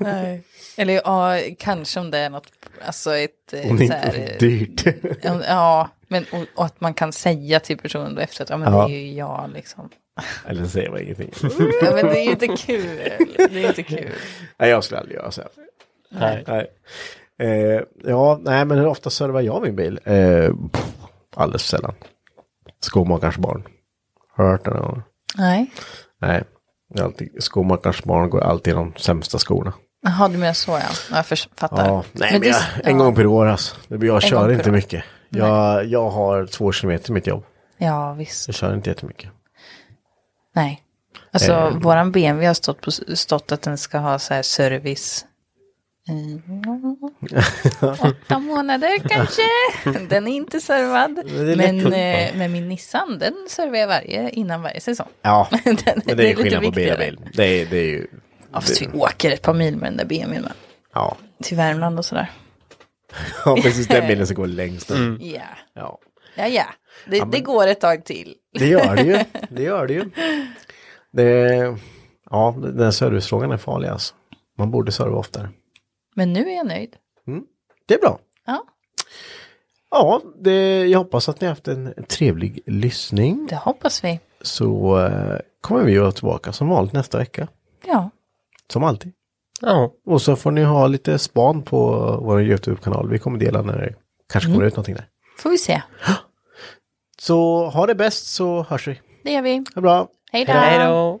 B: Nej. Eller ja, kanske om det är något, alltså ett... eh,
A: Om det
B: så
A: inte
B: här,
A: är
B: eh,
A: dyrt.
B: om- Ja, men och, och att man kan säga till personen då efteråt, ja men
A: Ja.
B: det är ju jag liksom.
A: Eller så säger man ingenting.
B: Ja, men det är ju inte kul. Det är inte kul.
A: Nej, jag skulle aldrig göra så här.
B: Nej.
A: Eh, ja, nej, men hur ofta servar jag min bil? Eh, pff, alldeles för sällan. Skomakarens barn. Har du hört det någon gång?
B: Nej.
A: Nej. det är alltid- Skomakarens barn går alltid i de sämsta skorna.
B: Jaha, du menar så ja. Ja, Jag förs- fattar.
A: Ja, nej, men
B: det-
A: jag, en gång per år alltså. Det blir- Jag
B: En gång
A: kör
B: per
A: inte
B: år.
A: mycket. Jag, jag har två kilometer till mitt jobb.
B: Ja, visst.
A: Jag kör inte jättemycket.
B: Nej. Alltså,
A: Eh.
B: våran BMW har stått, på, stått att den ska ha så här service. i, ja, Åtta månader kanske. Den är inte servad.
A: Men det är
B: Men,
A: lätt att-
B: eh, men min Nissan, den servar jag varje, innan varje säsong.
A: Ja,
B: Den-
A: men
B: det
A: det
B: är
A: är ju
B: lite
A: skillnad på bil och
B: viktigare.
A: bil. Det är, det är ju...
B: Ja, fast vi åker ett par mil med den där BMWn med.
A: Ja.
B: Till Värmland och sådär.
A: ja, precis den bilen som går längst.
B: Ja.
A: Ja.
B: Ja, ja. Det,
A: Ja, men-
B: det går ett tag till.
A: Det gör det ju. Det gör det ju. Det, ja, den här servicefrågan är farlig alltså. Man borde serva oftare.
B: Men nu är jag nöjd.
A: Det är bra.
B: Ja.
A: Ja, det, jag hoppas att ni har haft en trevlig lyssning.
B: Det hoppas vi.
A: Så eh, kommer vi att vara tillbaka som vanligt nästa vecka.
B: Ja.
A: Som alltid.
D: Ja.
A: Och så får ni ha lite span på vår YouTube-kanal. Vi kommer dela när det kanske kommer
B: Mm.
A: ut någonting där.
B: Får vi se.
A: Så ha det bäst så hörs vi.
B: Det gör vi.
A: Ha bra.
B: Hej då.
A: Hej
D: då.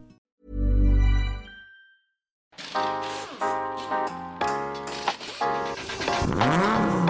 C: Mm.